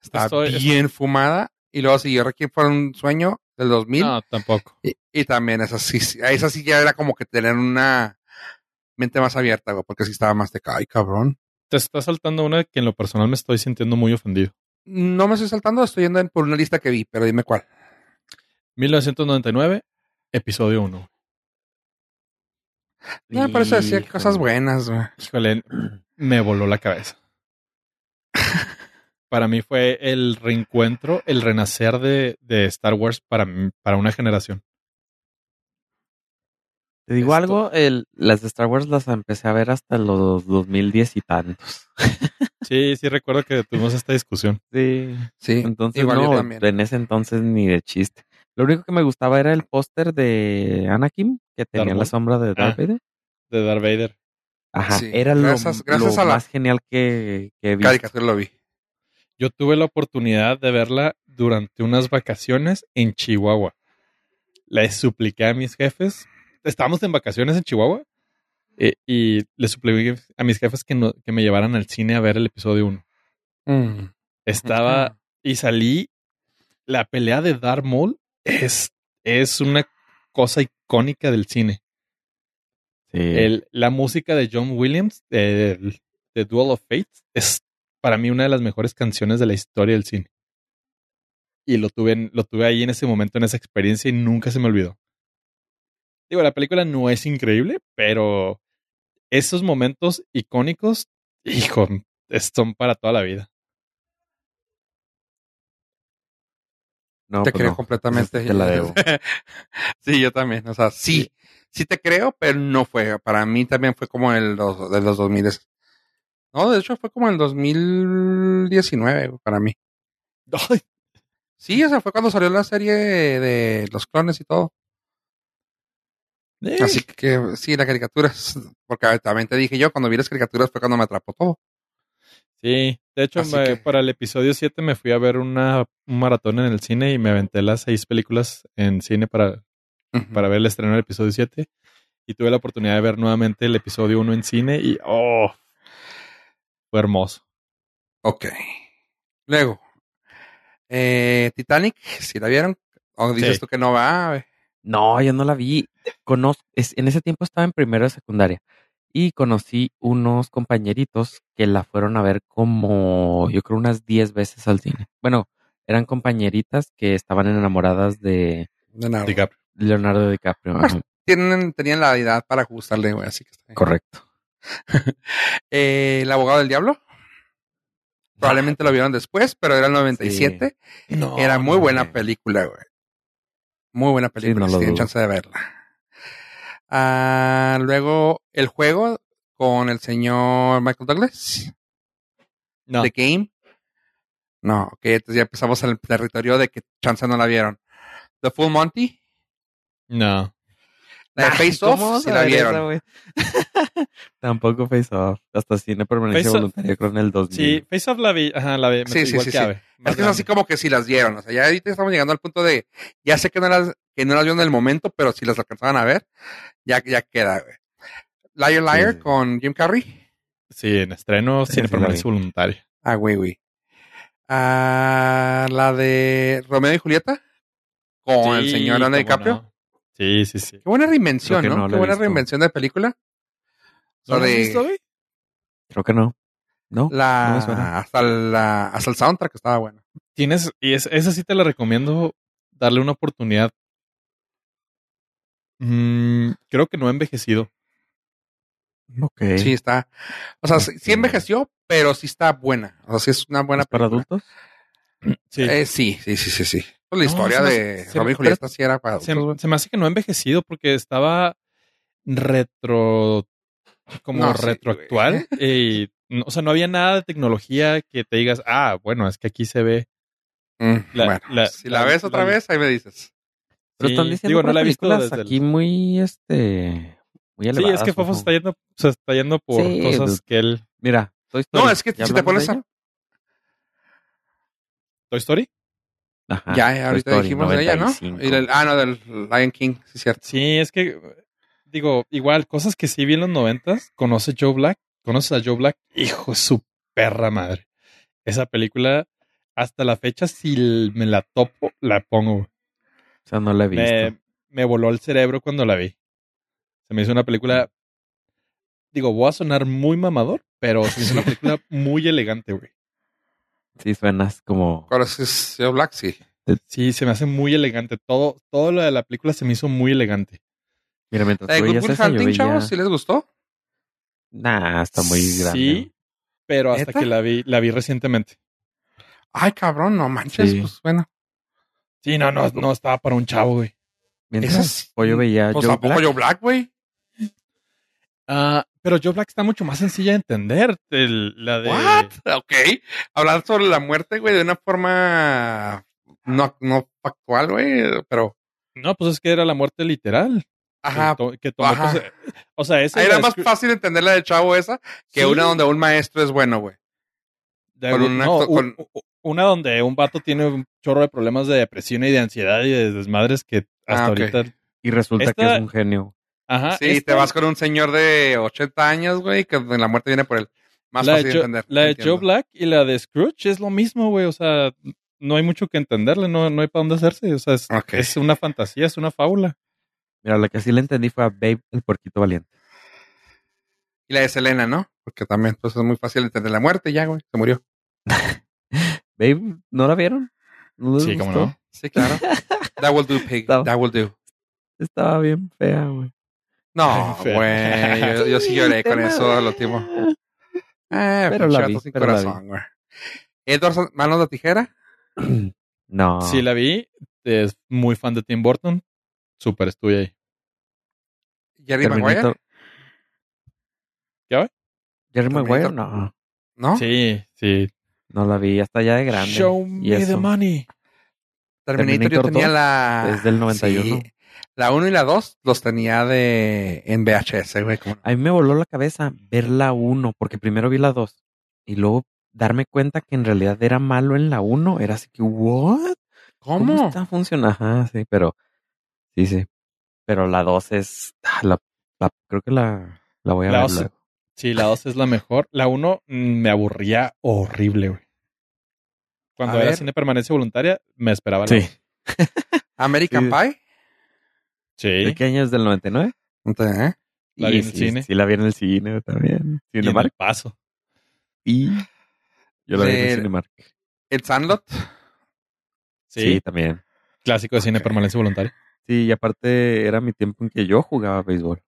S1: Está
S2: Estoy-
S1: bien fumada. Y luego siguió Requiem por un sueño del 2000.
S2: No, tampoco.
S1: Y, y también esa sí, sí- a esa sí ya era como que tener una mente más abierta, güey, porque sí estaba más de ay, cabrón.
S2: Te está saltando una que en lo personal me estoy sintiendo muy ofendido.
S1: No me estoy saltando, estoy yendo en- por una lista que vi, pero dime cuál.
S2: 1999, episodio 1.
S1: No, pero eso decía
S3: Híjole.
S1: cosas buenas, güey.
S2: Híjole, me voló la cabeza. Para mí fue el reencuentro, el renacer de, de Star Wars para, mí- para una generación.
S3: Te digo
S2: Esto-
S3: algo, el, las de Star Wars las empecé a ver hasta los 2010 y tantos.
S2: Sí, sí, recuerdo que tuvimos esta discusión.
S3: Sí.
S1: Sí,
S3: Entonces,
S1: igual yo
S3: no,
S1: también.
S3: en ese entonces ni de chiste. Lo único que me gustaba era el póster de Anakin, que tenía
S2: Maul?
S3: la sombra de
S2: Ah.
S3: Darth Vader.
S2: De Darth Vader.
S3: Ajá,
S1: Sí,
S3: era lo,
S1: gracias- gracias
S3: lo
S1: a la-
S3: más genial que, que vi.
S1: Caricatura lo vi.
S2: Yo tuve la oportunidad de verla durante unas vacaciones en Chihuahua. Les supliqué a mis jefes. Estábamos en vacaciones en Chihuahua eh, y les supliqué a mis jefes que, no- que me llevaran al cine a ver el episodio 1.
S3: Mm.
S2: Estaba y salí. La pelea de Darth Maul es, es una cosa icónica del cine.
S3: Sí.
S2: El- la música de John Williams, el- de Duel of Fates, es para mí una de las mejores canciones de la historia del cine. Y lo tuve, en- lo tuve ahí en ese momento, en esa experiencia, y nunca se me olvidó. Digo, la película no es increíble, pero esos momentos icónicos, hijo, es- son para toda la vida.
S3: No,
S1: te
S3: pues
S1: creo
S3: no.
S1: completamente.
S3: Esa sí te la debo.
S1: sí, yo también. O sea, sí, sí te creo, pero no fue. Para mí también fue como el dos- de los 2000. No, de hecho fue como el 2019 güey, para mí. Sí, o sea, fue cuando salió la serie de los clones y todo.
S2: Eh,
S1: Así que sí, las caricaturas. Porque también te dije yo, cuando vi las caricaturas fue cuando me atrapó todo.
S2: Sí, de hecho,
S1: Así
S2: me-
S1: que-
S2: para el episodio 7 me fui a ver una, un maratón en el cine y me aventé las seis películas en cine para, para ver el estreno del episodio 7. Y tuve la oportunidad de ver nuevamente el episodio 1 en cine y ¡oh! Fue hermoso.
S1: Ok. Luego, eh, Titanic, si la vieron, o dices
S2: Sí.
S1: tú que no va. güey.
S3: No, yo no la vi. Conozco, en ese tiempo estaba en primero de secundaria y conocí unos compañeritos que la fueron a ver como, yo creo, unas 10 veces al cine. Bueno, eran compañeritas que estaban enamoradas de
S1: De nada.
S2: Diga,
S3: Leonardo DiCaprio. Ajá,
S1: Tienen, tenían la edad para ajustarle, güey, así que está bien.
S3: correcto.
S1: Eh, El abogado del diablo. Probablemente lo vieron después, pero era el 97.
S3: No,
S1: Era muy
S3: no,
S1: buena
S3: güey.
S1: película, güey. Muy buena película,
S3: no
S1: si
S3: lo
S1: tienen
S3: dudo.
S1: chance de verla. Ah, luego, el juego con el señor Michael Douglas.
S2: No,
S1: The Game. No, ok, entonces ya empezamos en el territorio de que chance no la vieron. The Full Monty,
S2: No.
S1: la de
S3: Ay,
S1: Face Off,
S3: Ah, ¿cómo
S1: si
S3: vas a
S1: la
S3: ver
S1: vieron.
S3: esa, güey? Tampoco Face Off. Hasta cine permanencia
S2: Face Off.
S3: voluntaria creo en el 2000.
S2: Sí, Face Off la vi. Ajá, la vi.
S1: Sí, sí,
S2: igual
S1: sí, sí.
S2: que Ave, más
S1: Es que es así
S2: grande.
S1: como que si las dieron. O sea, ya ahorita estamos llegando al punto de. Ya sé que no las, que no las vieron en el momento, pero si las alcanzaban a ver, ya, ya queda, güey. Liar Liar
S3: Sí.
S1: con Jim Carrey.
S2: Sí, en estreno,
S3: Sí,
S2: cine
S3: sí, la
S2: permanencia voluntaria.
S1: Ah, güey, güey. Ah, la de Romeo y Julieta con el
S2: Sí,
S1: señor Leonardo
S2: cómo
S1: DiCaprio.
S2: no. Sí, sí, sí.
S1: Qué buena reinvención, ¿no?
S3: Creo que no la
S1: Qué
S3: he
S1: buena
S3: visto.
S1: reinvención de película. O sea,
S2: ¿No lo has
S1: de-
S2: visto, güey?
S3: Creo que no. No.
S1: La,
S3: No me suena.
S1: hasta, la, hasta el soundtrack estaba bueno.
S2: Tienes, y es- esa sí te la recomiendo darle una oportunidad. Mm, creo que no ha envejecido.
S3: Ok.
S1: Sí, está. O sea, sí, sí
S3: Ok.
S1: envejeció, pero sí está buena. O sea, sí es una buena
S3: ¿Es para
S1: película.
S3: adultos?
S2: Sí.
S1: Eh, sí, sí, sí, sí, sí. Pues la
S2: No,
S1: historia
S2: se me-
S1: de
S2: se me-
S1: Romeo y Julieta sí era
S3: Ah,
S1: para
S2: se,
S3: pues
S1: adultos, güey.
S2: se me hace que no ha envejecido porque estaba retro. como
S1: No, sí,
S2: retroactual. y, no- o sea, no había nada de tecnología que te digas, ah, bueno, es que aquí se ve.
S1: Mm,
S2: la-
S1: bueno,
S2: la-
S1: si la,
S2: la-
S1: ves otra
S2: la-
S1: vez, ahí me dices.
S3: Pero
S2: Sí,
S3: están diciendo
S2: digo, no
S3: puras
S2: la he visto
S3: películas
S2: desde el-
S3: aquí muy, este, muy
S2: Sí,
S3: elevadas.
S2: es que
S3: ojo.
S2: Fofo se está yendo, se está yendo por
S3: Sí,
S2: cosas
S3: pues-
S2: que él.
S3: Mira, Toy Story.
S1: No, es que
S3: ¿Ya
S1: si te
S3: hablamos
S1: pones
S3: de
S1: a-
S3: ella?
S2: ¿Toy Story?
S3: Ajá,
S2: Ah,
S3: Toy
S1: ya, ahorita
S3: Story,
S1: dijimos de ella, ¿no?
S3: 95.
S1: Y del- ah, no, del Lion King, sí, cierto.
S2: Sí, es que. eh, Digo, igual, cosas que sí vi en los noventas. Conoce Joe Black. Conoces a Joe Black. Hijo de su perra madre. Esa película, hasta la fecha, si l- me la topo, la pongo.
S3: O sea, no la he visto.
S2: Me, me voló el cerebro cuando la vi. Se me hizo una película. Digo, voy a sonar muy mamador, pero se me hizo una película muy elegante, güey.
S3: Sí, suenas como...
S1: ¿Cuál es- es Joe Black? Sí.
S2: Sí, se me hace muy elegante. Todo, todo lo de la película se me hizo muy elegante.
S3: Mira, mientras
S1: La de
S3: tú
S1: Eh, Good
S3: veías
S1: Will
S3: esa, yo
S1: Hunting, chavos,
S3: veía...
S1: ¿sí les gustó?
S3: Nah, está muy grande.
S2: Sí, pero hasta
S1: ¿Neta?
S2: que la vi, la vi recientemente.
S1: Ay, cabrón, no manches,
S3: Sí.
S1: pues bueno.
S2: Sí, no, no, no estaba para un chavo, güey.
S3: Mientras
S1: Esas-
S3: Pollo veía
S1: Pues
S3: Joe
S1: tampoco
S3: Black.
S1: Joe Black, güey.
S2: Ah, pero Joe Black está mucho más sencilla de entender. El- la de.
S1: What? Ok. Hablar sobre la muerte, güey, de una forma no, no factual, güey, pero...
S2: No, pues es que era la muerte literal.
S1: Ajá,
S2: Que, to- que tomó,
S1: ajá.
S2: pues, eh, o sea, esa.
S1: Ahí
S2: y
S1: era
S2: la
S1: más
S2: Scree-
S1: fácil entender la de chavo esa que
S2: Sí,
S1: una donde un maestro es bueno, güey.
S2: de-
S1: con un
S2: no,
S1: acto-
S2: un-
S1: con-
S2: u- una donde un vato tiene un chorro de problemas de depresión y de ansiedad y de desmadres que hasta
S1: Ah, ok.
S2: ahorita.
S3: Y resulta que
S2: Esta-
S3: es un genio.
S2: Ajá.
S1: sí, te
S2: Ah, esta-
S1: vas con un señor de 80 años, güey, que la muerte viene por él. Más
S2: la
S1: fácil
S2: de,
S1: de
S2: Joe-
S1: entender.
S2: la de
S1: entiendo.
S2: Joe Black y la de Scrooge es lo mismo, güey. O sea, no hay mucho que entenderle, no, no hay para dónde hacerse. O sea, es,
S1: Ok.
S2: es una fantasía, es una fábula.
S3: Mira, la que sí le entendí fue a Babe, el puerquito valiente.
S1: Y la de Selena, ¿no? Porque también, pues es muy fácil entender la muerte ya, güey. Se murió.
S3: Babe, ¿no la vieron? ¿No les
S2: Sí, cómo
S3: gustó?
S2: no.
S1: Sí, claro. That will do, pig.
S3: No.
S1: That will do.
S3: Estaba bien fea, güey.
S1: No,
S2: Ay, feo.
S1: güey. Yo, yo sí lloré con
S3: tema
S1: eso al
S3: de-
S1: último. Eh,
S3: Pero
S1: pinche
S3: la
S1: vato
S3: vi,
S1: sin
S3: pero la vi.
S1: corazón, güey. Edward, manos de tijera.
S3: No.
S2: Sí, la vi. Es muy fan de Tim Burton. Súper estuve ahí.
S1: Jerry Maguire.
S3: Terminator-
S2: ¿Ya ve?
S3: Jerry Maguire,
S1: Terminator.
S3: no.
S1: ¿No?
S2: Sí, sí.
S3: No la vi, hasta ya de grande.
S2: Show
S3: Y
S2: me
S3: eso,
S2: the money.
S1: Terminator, yo
S3: Terminator
S1: tenía
S3: 2,
S1: la.
S3: es del 91.
S1: Sí. La 1 y la 2 los tenía de en VHS, güey. como-
S3: A mí me voló la cabeza ver la 1, porque primero vi la 2 y luego darme cuenta que en realidad era malo en la 1. Era así que, ¿what?
S1: ¿Cómo?
S3: está funcionando? Ajá, sí, pero. Sí, sí. Pero la 2 es. ah, La, la- creo que la, la voy a
S2: La
S3: ver.
S2: dos-
S3: luego.
S2: Sí, la 2 es la mejor. La 1 me aburría horrible, güey. Cuando
S1: A
S2: era
S1: ver.
S2: cine permanencia voluntaria, me esperaba la
S3: Sí.
S2: dos.
S1: American
S3: Sí.
S1: Pie.
S2: Sí.
S3: ¿De qué año es del 99?
S1: Entonces, ¿eh?
S2: La
S3: Y
S2: vi en el
S3: sí,
S2: cine.
S3: Sí, la vi en el cine también.
S2: Y en
S3: Cinemark.
S2: el paso.
S3: Y. Yo la vi en
S1: De-
S3: el Cinemark.
S1: El Sandlot.
S2: Sí.
S3: sí también.
S2: Clásico de cine
S1: Ok.
S2: permanencia voluntaria.
S3: Sí, y aparte era mi tiempo en que yo jugaba béisbol.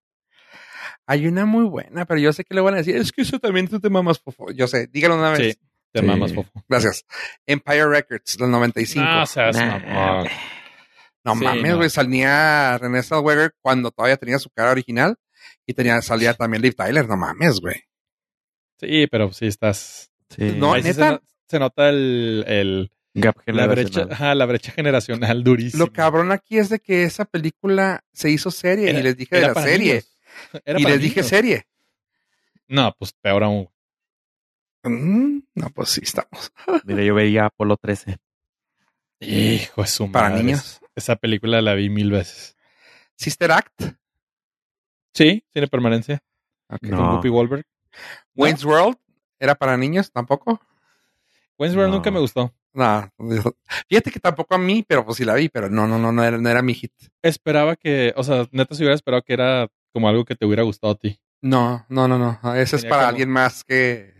S1: Hay una muy buena, pero yo sé que le van a decir, es que eso también tú te mamas, fofo. Yo sé, dígalo una vez.
S2: Sí. Te
S3: Sí.
S2: mamas, Fofo.
S1: Gracias. Empire Records, del 95.
S2: No, seas
S3: Nah,
S2: mamón.
S3: güey.
S1: no
S2: Ah, sí,
S1: mames,
S2: no.
S1: güey. Salía René Zellweger cuando todavía tenía su cara original y tenía, salía también Liv Tyler. No mames, güey.
S2: Sí, pero sí estás.
S3: Sí.
S1: No,
S2: Ahí sí se,
S1: ¿neta?
S2: no- se nota el, el,
S3: Gap
S2: La brecha,
S3: generacional.
S2: ajá, la brecha generacional durísima.
S1: Lo cabrón aquí es de que esa película se hizo serie
S2: Era-
S1: y les dije
S2: era
S1: de la
S2: para
S1: serie.
S2: niños. Era
S1: Y
S2: para
S1: les dije
S2: niños.
S1: serie.
S2: No, pues peor aún.
S1: Mm, no, pues sí, estamos.
S3: Mira, yo veía Apolo 13.
S2: Hijo de su
S1: Para
S2: madre.
S1: niños.
S2: Esa película la vi mil veces.
S1: Sister Act,
S2: Sí, tiene permanencia. Con
S3: No.
S2: Whoopi Goldberg.
S1: Wayne's World, ¿era para niños tampoco?
S2: Wayne's World
S3: No.
S2: nunca me gustó.
S1: No, fíjate que tampoco a mí, pero pues sí la vi, pero no, no, no, no era, no era mi hit.
S2: Esperaba que, o sea, neta se hubiera esperado que era como algo que te hubiera gustado a ti.
S1: No, no, no, no. Ese es
S2: Tenía
S1: para
S2: como-
S1: alguien más que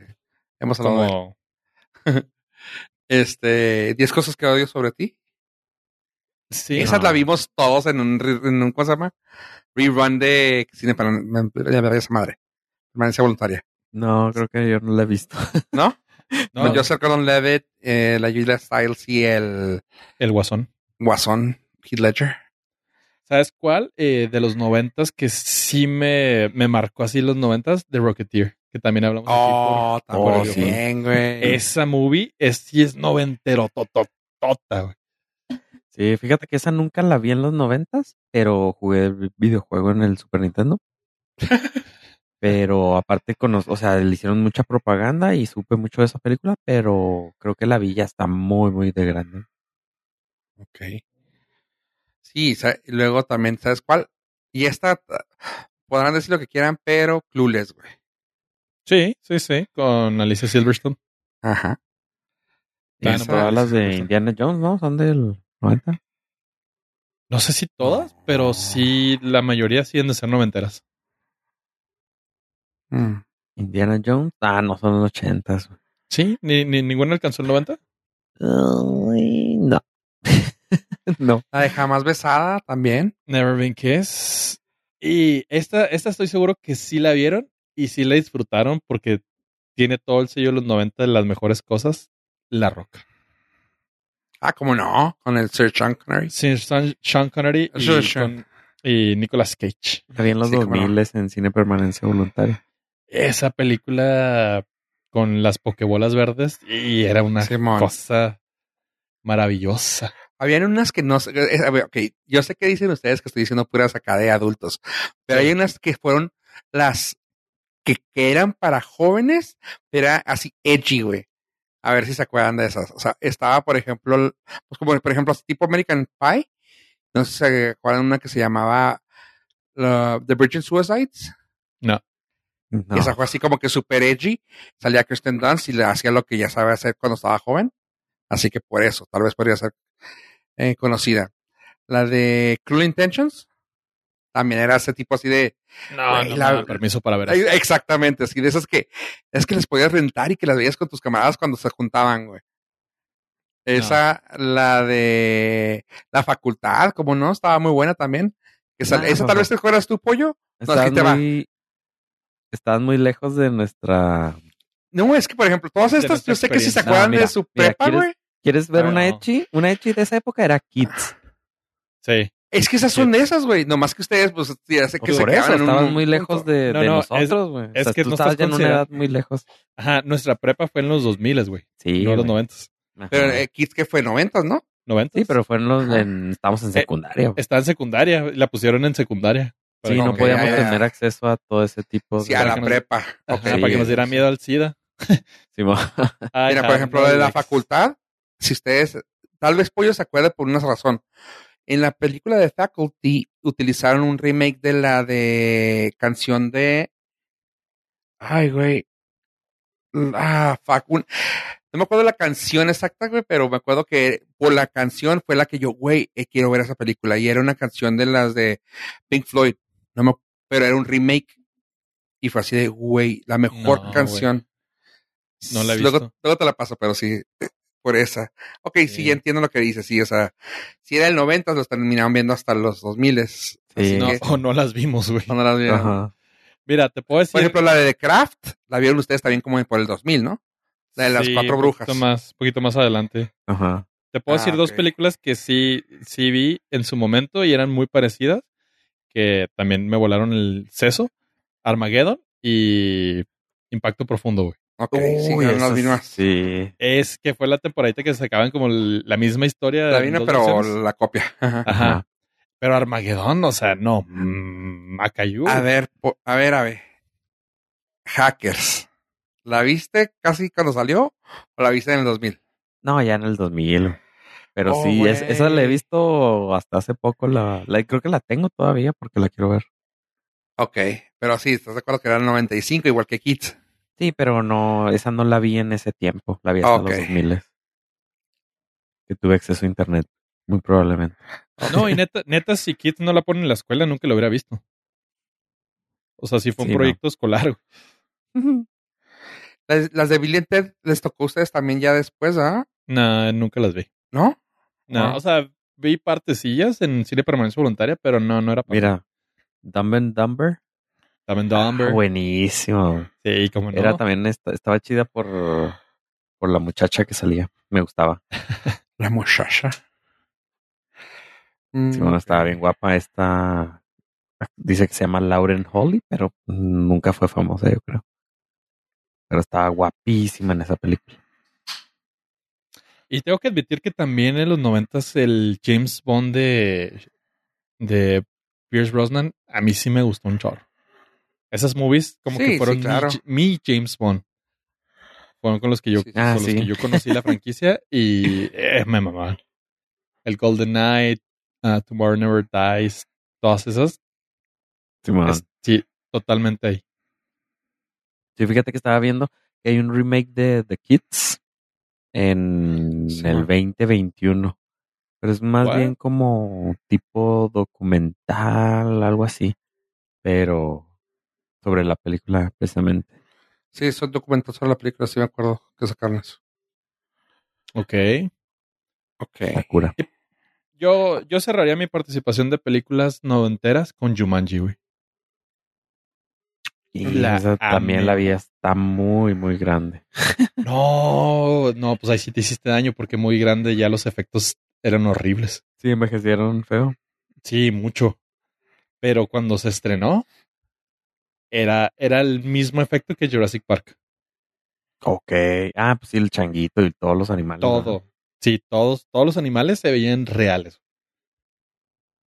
S1: hemos hablado de él.
S2: Como,
S1: Este, 10 cosas que odio sobre ti.
S2: sí,
S1: Esa
S3: no.
S1: la vimos todos en un, re- en un ¿cómo se llama? Rerun de Cine para esa madre. Permanencia voluntaria.
S3: No, creo que yo no la he visto.
S1: ¿No?
S2: no,
S1: Con Joseph Gordon Levitt, eh, la Julia Stiles y el
S2: el guasón.
S1: Guasón, Heath Ledger.
S2: ¿Sabes cuál? Eh, de los noventas que sí me, me marcó así los noventas, The Rocketeer, que también hablamos aquí por-
S1: Oh,
S2: por el videojuego.
S1: también, güey.
S2: Esa movie es, sí es noventero, tototota, güey.
S3: Sí, fíjate que esa nunca la vi en los noventas, pero jugué el videojuego en el Super Nintendo. pero aparte con los- o sea, le hicieron mucha propaganda y supe mucho de esa película, pero creo que la vi ya está muy, muy de grande.
S1: Ok. Sí, sa- y luego también, ¿sabes cuál? Y esta, t- podrán decir lo que quieran, pero Clueless, güey.
S2: Sí, sí, sí, con Alicia Silverstone.
S1: Ajá.
S3: Y
S2: Bueno,
S3: todas
S1: Esa-
S3: las de Indiana Jones, ¿no? Son del 90.
S2: No sé si todas, pero sí, la mayoría sí han de ser noventeras.
S1: Mm.
S3: Indiana Jones, ah, no, son los 80.
S2: Sí, ni, ni ninguna alcanzó el 90.
S3: No. no.
S1: La de Jamás Besada también.
S2: Never Been Kiss. Y esta, esta estoy seguro que sí la vieron y sí la disfrutaron porque tiene todo el sello de los 90 de las mejores cosas. La Roca.
S1: Ah, ¿cómo no? Con el Sir Sean Connery.
S2: Sí, Sean, Sean Connery y,
S1: Sure, sure.
S2: con- y Nicolas Cage.
S3: La vi en los
S1: Sí, cómo no.
S3: 2000 en cine permanencia voluntaria.
S2: Esa película con las pokebolas verdes y era una
S1: Simón.
S2: cosa maravillosa.
S1: Habían unas que no sé. eh, a ver, Ok, yo sé que dicen ustedes que estoy diciendo puras acá de adultos, pero hay unas que fueron las que, que eran para jóvenes, pero era así edgy, güey. A ver si se acuerdan de esas. O sea, estaba, por ejemplo, el- pues como por ejemplo, tipo American Pie. No sé si se acuerdan una que se llamaba uh, The Virgin Suicides.
S3: No.
S1: Esa fue así como que super edgy. Salía Kristen Dunst y le hacía lo que ya sabe hacer cuando estaba joven. Así que por eso, tal vez podría ser eh, conocida. La de Cruel Intentions también era ese tipo así de.
S2: No,
S1: Güey,
S2: no
S1: la-
S2: me dan permiso para ver. eso.
S1: Exactamente, así de esas que es que les podías rentar y que las veías con tus camaradas cuando se juntaban, güey. Esa, la de la facultad, como no, estaba muy buena también. Que sal-
S3: Ah, No.
S1: esa tal vez te fueras tu pollo. No, es que
S3: Estás
S1: te va.
S3: muy, estás muy lejos de nuestra.
S1: No, es que por ejemplo, todas
S2: De
S1: estas,
S2: nuestra
S1: yo sé que si se
S2: experiencia.
S1: acuerdan
S3: No, mira,
S1: de su
S3: mira,
S1: prepa,
S3: ¿quieres-
S1: güey.
S3: ¿Quieres ver
S2: Ah,
S3: una
S2: no.
S3: Echi? Una Echi de esa época era Kids.
S1: Ah,
S2: Sí.
S1: Es que esas son de esas, güey. Nomás que ustedes, pues, ya sé que se
S3: Por eso,
S1: quedaban en un-
S3: estabas
S1: un
S3: muy lejos
S1: punto.
S3: de,
S2: No,
S3: de
S2: no, es-
S3: nosotros, güey.
S2: es
S3: o sea,
S2: que
S3: tú
S2: no
S3: estabas
S2: estás
S3: ya en una
S2: considerando-
S3: edad muy lejos.
S2: Ajá, nuestra prepa fue en los 2000, güey.
S3: Sí,
S2: no en los
S3: güey.
S2: 90.
S3: Ajá.
S1: Pero eh, Kids que fue 90, ¿no?
S2: 90.
S3: sí, pero fueron los.
S1: Ajá. Eh,
S3: En, estábamos en secundaria. güey.
S2: Está en secundaria, la pusieron en secundaria. Para
S3: sí,
S2: que-
S3: no
S1: ok,
S3: podíamos
S1: ya, ya.
S3: tener acceso a todo ese tipo
S1: Sí,
S3: de.
S1: a
S2: para
S1: la
S2: que nos-
S1: prepa.
S2: Pues, Ajá,
S1: Ok.
S2: para que nos diera miedo al SIDA.
S3: Sí, mo-
S2: Ay,
S1: Mira, por ejemplo, de la
S2: Alex.
S1: facultad, si ustedes, tal vez Pollo se acuerde por una razón. En la película de Faculty utilizaron un remake de la de canción de. Ay, güey. Ah, fuck, un- No me acuerdo la canción exacta, güey, pero me acuerdo que por la canción fue la que yo, güey, eh, quiero ver esa película. Y era una canción de las de Pink Floyd. No me- pero era un remake. Y fue así de, güey, la mejor
S2: No, güey.
S1: canción.
S2: No la he
S1: Luego-
S2: visto.
S1: Luego te la paso, pero sí, por esa. Ok, sí,
S2: Sí.
S1: ya entiendo lo que dices, sí, o sea, si era el 90, los terminaban viendo hasta los 2000. Así
S3: Sí.
S2: No,
S1: que
S2: o no las vimos, güey.
S1: cuando las vieron.
S3: Ajá.
S2: Mira, te puedo decir.
S1: Por ejemplo, la de The Craft, la vieron ustedes también como por el 2000, ¿no? La de las
S2: sí,
S1: cuatro brujas.
S2: Poquito más, poquito más adelante.
S3: Ajá.
S2: Te puedo
S1: Ah,
S2: decir dos
S1: ok.
S2: películas que sí, sí vi en su momento y eran muy parecidas, que también me volaron el seso, Armageddon y Impacto Profundo, güey.
S1: Ok, sí, no, no
S3: esas-
S1: vino así.
S3: Sí.
S2: Es que fue la temporadita que sacaban como l- la misma historia.
S1: La
S2: en
S1: vino,
S2: dos
S1: pero
S2: versiones.
S1: la copia. Ajá.
S2: Ajá.
S3: Ajá.
S2: Pero Armagedón, o sea, no. mm, Macayú.
S1: A ver, po- a ver, a ver. Hackers. ¿La viste casi cuando salió o la viste en el 2000?
S3: No, ya en el 2000. Pero
S1: Oh,
S3: sí, es- esa la he
S1: güey.
S3: visto hasta hace poco. La, la- creo que la tengo todavía porque la quiero ver.
S1: Ok, pero sí, ¿estás de acuerdo que era el 95 igual que Kids?
S3: Sí, pero no, esa no la vi en ese tiempo. La vi hasta
S1: Ok.
S3: los 2000. Que tuve acceso a internet, muy probablemente.
S2: No, y neta, neta, si Kit no la pone en la escuela, nunca lo hubiera visto. O sea, si fue un
S3: Sí, no.
S2: proyecto escolar. güey.
S1: Las, las de Bill and Ted les tocó a ustedes también ya después, ¿ah?
S2: Nah, nunca las vi.
S1: ¿No?
S2: No,
S1: Ah.
S2: o sea, vi partecillas en cine permanencia voluntaria, pero no, no era para
S3: Mira, Dumb and Dumber.
S2: También Dumber.
S3: Ah, buenísimo.
S2: Sí, como no.
S3: Era también, esta- estaba chida por, por la muchacha que salía. Me gustaba.
S1: La muchacha.
S3: Sí,
S1: Mm,
S3: bueno, estaba
S1: ok.
S3: bien guapa. Esta dice que se llama Lauren Holly, pero nunca fue famosa, yo creo. Pero estaba guapísima en esa película.
S2: Y tengo que admitir que también en los noventas el James Bond de, de Pierce Brosnan a mí sí me gustó un chorro. Esas movies como
S1: Sí,
S2: que
S1: sí,
S2: fueron mi
S1: claro.
S2: J- mi, James Bond. Fueron con los que yo,
S1: Sí, sí,
S3: Ah,
S2: con los
S3: sí.
S2: que yo conocí la franquicia y eh, me mamaban. El Golden Knight, ah, Tomorrow Never Dies, todas esas.
S1: Ah.
S3: Simón.
S2: es- sí, totalmente ahí.
S3: Sí, fíjate que estaba viendo que hay un remake de The Kids en
S1: Sí,
S3: el
S1: man.
S3: 2021. Pero es más
S2: What?
S3: bien como tipo documental, algo así. Pero sobre la película, precisamente.
S1: Sí, son documentos sobre la película, sí me acuerdo que sacaron eso.
S2: Ok.
S1: Ok.
S3: Sakura.
S2: Yo, yo cerraría mi participación de películas noventeras con Jumanji, güey.
S3: Y
S2: La
S3: esa también
S2: amé.
S3: la vi, está muy, muy grande.
S2: No, no, pues ahí sí te hiciste daño porque muy grande ya los efectos eran horribles.
S3: Sí, envejecieron feo.
S2: Sí, mucho. Pero cuando se estrenó, era, era el mismo efecto que Jurassic Park.
S3: Ok. Ah, pues sí, el changuito y todos los animales. ¿no?
S2: Todo. Sí, todos, todos los animales se veían reales.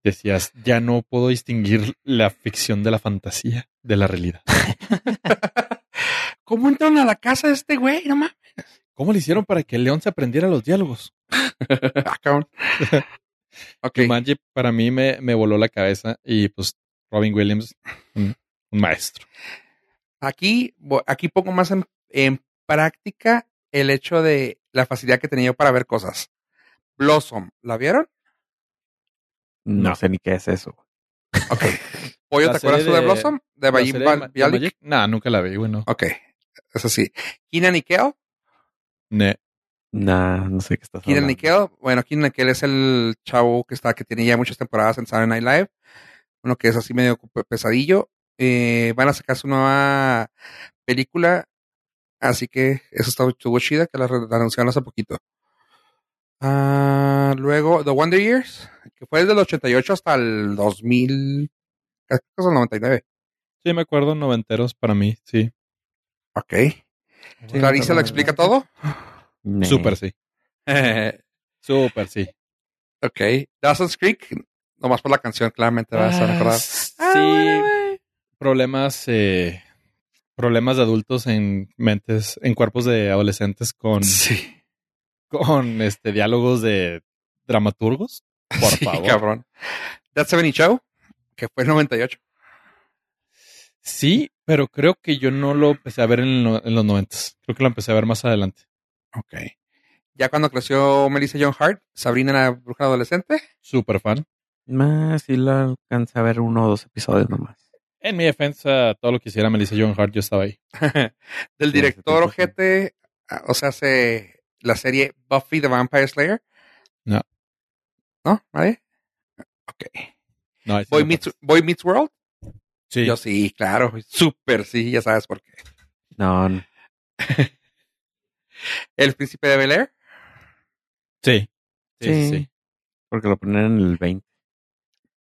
S2: Decías, ya no puedo distinguir la ficción de la fantasía de la realidad.
S1: ¿Cómo entran a la casa de este güey? No mames.
S2: ¿Cómo le hicieron para que el león se aprendiera los diálogos?
S1: Ah, cabrón. Ok.
S2: Jumanji para mí me, me voló la cabeza y pues Robin Williams, un- un maestro.
S1: Aquí, bo- aquí pongo más en, en práctica el hecho de la facilidad que tenía yo para ver cosas. Blossom, ¿la vieron?
S3: No,
S2: No.
S3: sé ni qué es eso.
S1: Ok. Pollo,
S2: La
S1: ¿te acuerdas
S2: serie
S1: tú de
S2: de-
S1: Blossom? De
S2: ¿La
S1: Bayim
S2: serie de Ma- de
S1: Bialik.
S2: Magic? Nah, nunca la vi, güey, no.
S1: Ok. Eso sí. Keenan y Kel.
S2: Ne.
S3: Nah, no sé qué estás
S1: Keenan
S3: hablando.
S1: y Kel. Bueno, Keenan y Kel es el chavo que está, que tiene ya muchas temporadas en Saturday Night Live. Uno que es así medio cu- pesadillo. Eh, van a sacar su nueva película. Así que eso está- estuvo chida, que la, re- la anunciaron hace poquito. Ah, luego, The Wonder Years, que fue desde el 88 hasta el 2000, casi hasta el 99.
S2: Sí, me acuerdo noventeros para mí, sí.
S1: Ok.
S3: Sí,
S1: Clarice lo
S3: pero-
S1: explica todo.
S3: Nah.
S2: Súper sí. Súper sí.
S1: ok. Dawson's Creek, nomás por la canción, claramente vas
S2: Ah,
S1: a recordar. Ah,
S2: sí. Problemas, eh, problemas de adultos en mentes, en cuerpos de adolescentes con,
S1: Sí.
S2: con este diálogos de dramaturgos. Por
S1: Sí,
S2: favor.
S1: cabrón. That 70 Show, que fue el 98.
S2: Sí, pero creo que yo no lo empecé a ver en, lo- en los noventas. Creo que lo empecé a ver más adelante.
S1: Ok. Ya cuando creció Melissa John Hart, Sabrina la bruja adolescente.
S2: Súper fan.
S3: Nah, sí la alcancé a ver uno o dos episodios nomás.
S2: En mi defensa, todo lo que hiciera Melissa John Hart, yo estaba ahí.
S1: del
S3: Sí, hace
S1: director
S3: tiempo, sí.
S1: ojete, ah, o sea, se, la serie Buffy the Vampire Slayer.
S2: No.
S1: ¿No? ¿Nadie? Ok.
S2: No, ahí sí
S1: Boy
S2: me
S1: Meets,
S2: acuerdo.
S1: Boy Meets World.
S2: Sí.
S1: Yo sí, claro. Súper, sí, ya sabes por qué.
S3: No, no.
S1: El Príncipe de Bel Air.
S2: Sí. Sí, sí,
S3: Sí.
S2: sí.
S3: porque lo ponen en el 20.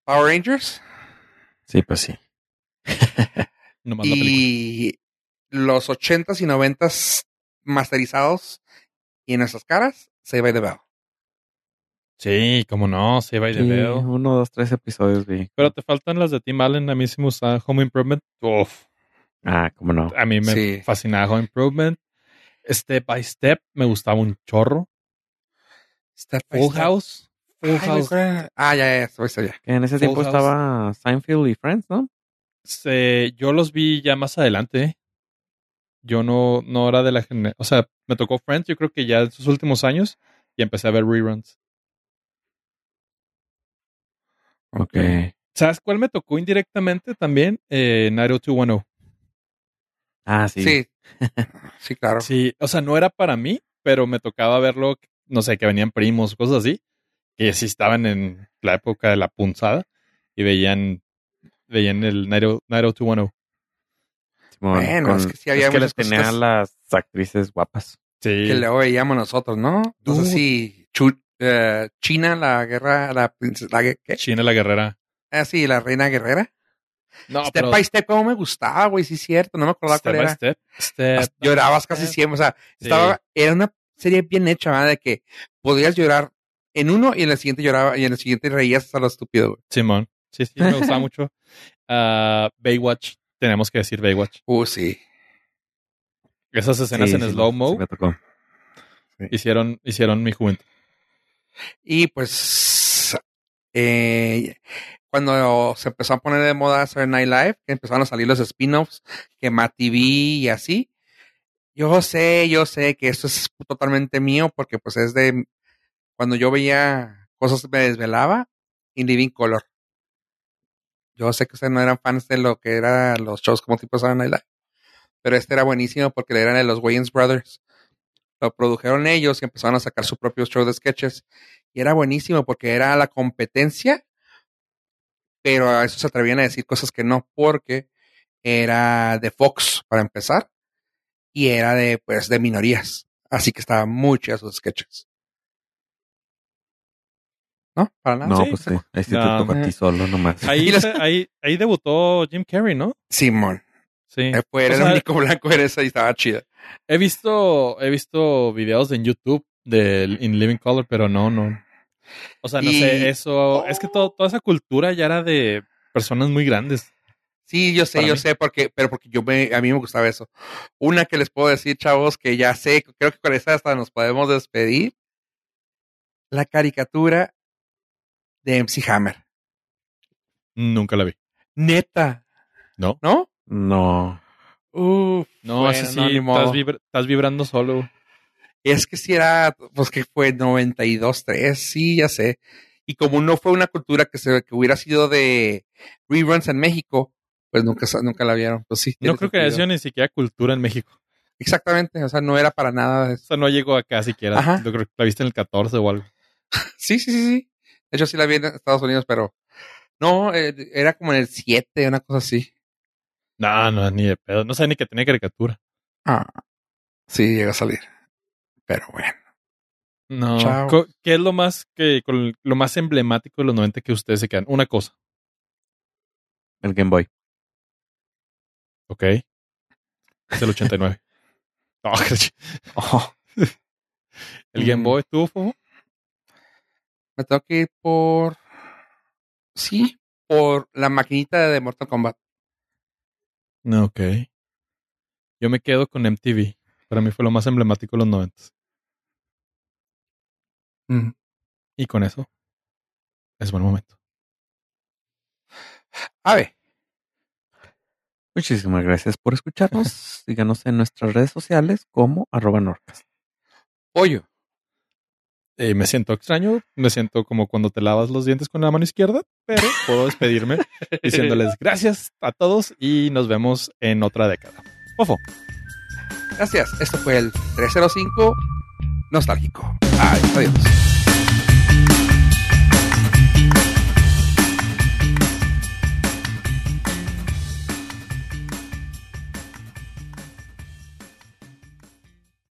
S1: Power Rangers.
S3: Sí, pues sí.
S2: Nomás la película.
S1: Y los 80s y 90s masterizados y en nuestras caras, se va de Bell.
S2: Sí, cómo no, se va y de
S3: Sí,
S2: veo.
S3: uno, dos, tres episodios vi.
S2: Pero te faltan las de Tim Allen. A mí sí me gustaba Home Improvement. Uf,
S3: Ah, cómo no.
S2: a mí me
S1: Sí.
S2: fascinaba Home Improvement. Step by Step me gustaba un chorro.
S1: Step by
S2: Full
S1: step.
S2: House. Full
S1: Ay,
S2: House.
S1: güey. Ah, ya, ya, ya, ya, ya.
S3: Que en ese tiempo
S2: House.
S3: estaba Seinfeld y Friends, ¿no?
S2: Se- yo los vi ya más adelante. ¿eh? Yo no, no era de la generación. O sea, me tocó Friends, yo creo que ya en sus últimos años, y empecé a ver reruns.
S3: Ok.
S2: ¿Sabes cuál me tocó indirectamente también? Eh, 90210.
S3: Ah, sí.
S1: Sí. Sí, claro.
S2: Sí, o sea, no era para mí, pero me tocaba verlo, no sé, que venían primos, cosas así, que sí estaban en la época de la punzada y veían, veían el oh, 90- 90210.
S3: Simón,
S1: Bueno, es que sí había
S3: es que
S1: muchas
S3: les tenía
S1: cosas.
S3: las actrices guapas.
S2: Sí.
S1: Que luego veíamos nosotros, ¿no? Entonces
S2: Dude.
S1: sí, Chu- eh, China, la guerra, la princesa, la gue- ¿qué?
S2: China la guerrera.
S1: Ah, sí, la reina guerrera.
S2: No,
S1: step by step, cómo me gustaba, güey, sí es cierto, no me acordaba
S2: step
S1: cuál
S2: by
S1: era.
S2: step, step Eh.
S1: Hasta Llorabas
S2: by
S1: casi
S2: step.
S1: siempre, o sea,
S2: Sí.
S1: estaba, era una serie bien hecha, ¿verdad? De que podías llorar en uno y en el siguiente lloraba y en el siguiente reías hasta lo estúpido, güey.
S2: Simón. Sí, sí, me gustaba mucho. Ah, Baywatch, tenemos que decir Baywatch.
S1: Uh, sí.
S2: Esas escenas
S3: Sí,
S2: en
S3: sí,
S2: slow-mo
S3: sí me tocó.
S2: hicieron, hicieron mi juventud.
S1: Y pues eh, cuando se empezó a poner de moda Saturday Night Live, que empezaron a salir los spin-offs, que Matt TV y así. Yo sé, yo sé que esto es totalmente mío porque pues es de cuando yo veía cosas me desvelaba in Living Color. Yo sé que ustedes no eran fans de lo que eran los shows como tipo Saturday Night Live, pero este era buenísimo porque eran de los Wayans Brothers. Lo produjeron ellos y empezaron a sacar su propio show de sketches y era buenísimo porque era la competencia, pero a eso se atrevían a decir cosas que no, porque era de Fox para empezar y era de pues de minorías, así que estaban muchas sus sketches. ¿No? Para nada.
S3: No,
S2: sí,
S3: pues sí. Ahí sí
S2: No,
S3: te tocó a ti solo nomás.
S2: Ahí,
S1: Y las-
S2: se- ahí, ahí debutó Jim Carrey, ¿no?
S1: Simón.
S2: Sí.
S1: Eh, pues, era
S2: O sea,
S1: el único blanco en esa y estaba chida.
S2: He visto, he visto videos en YouTube del In Living Color, pero no, no. O sea, no
S1: Y-
S2: sé, eso. Es que todo- toda esa cultura ya era de personas muy grandes.
S1: Sí, yo sé,
S2: Para
S1: yo
S2: mí.
S1: sé, porque, pero porque yo me, a mí me gustaba eso. Una que les puedo decir, chavos, que ya sé, creo que con esa hasta nos podemos despedir. La caricatura de MC Hammer.
S2: Nunca la vi.
S1: Neta.
S2: No.
S1: ¿No?
S3: No.
S1: Uf,
S2: No,
S1: Bueno,
S2: así sí,
S1: no, ni modo.
S2: estás, vibra- estás vibrando solo.
S1: es que si era, pues que fue 92, 3, sí, ya sé. Y como no fue una cultura que se, que hubiera sido de reruns en México, pues nunca, sa- nunca la vieron. Pues sí.
S2: No
S1: tiene
S2: creo que haya
S1: sentido.
S2: sido ni siquiera cultura en México.
S1: Exactamente, o sea, no era para nada. de-
S2: O sea, no llegó acá siquiera.
S1: Ajá.
S2: Yo creo que la viste en el 14 o algo.
S1: Sí, sí, sí, sí. De hecho, sí la vi en Estados Unidos, pero no, eh, era como en el 7, una cosa así.
S2: No, no, ni de pedo. No sabía ni que tenía caricatura.
S1: Ah, sí, llega a salir. Pero bueno.
S2: No.
S1: Chao.
S2: Co- ¿Qué es lo más que con lo más emblemático de los 90 que ustedes se quedan? Una cosa.
S3: El Game Boy.
S2: Ok. Es el 89. No, el Game
S1: Mm.
S2: Boy tuvo. Fofo?
S1: Me tengo que ir por. Sí, por la maquinita de Mortal Kombat.
S2: No, ok. Yo me quedo con MTV. Para mí fue lo más emblemático de los 90. Y con eso es buen momento.
S1: A ver,
S3: Muchísimas gracias por escucharnos. Síganos en nuestras redes sociales como arroba norcas.
S1: pollo.
S2: Eh, me siento extraño. Me siento como cuando te lavas los dientes con la mano izquierda. Pero puedo despedirme diciéndoles gracias a todos y nos vemos en otra década. Fofo.
S1: Gracias. Esto fue el 305 Nostálgico. Ay, adiós.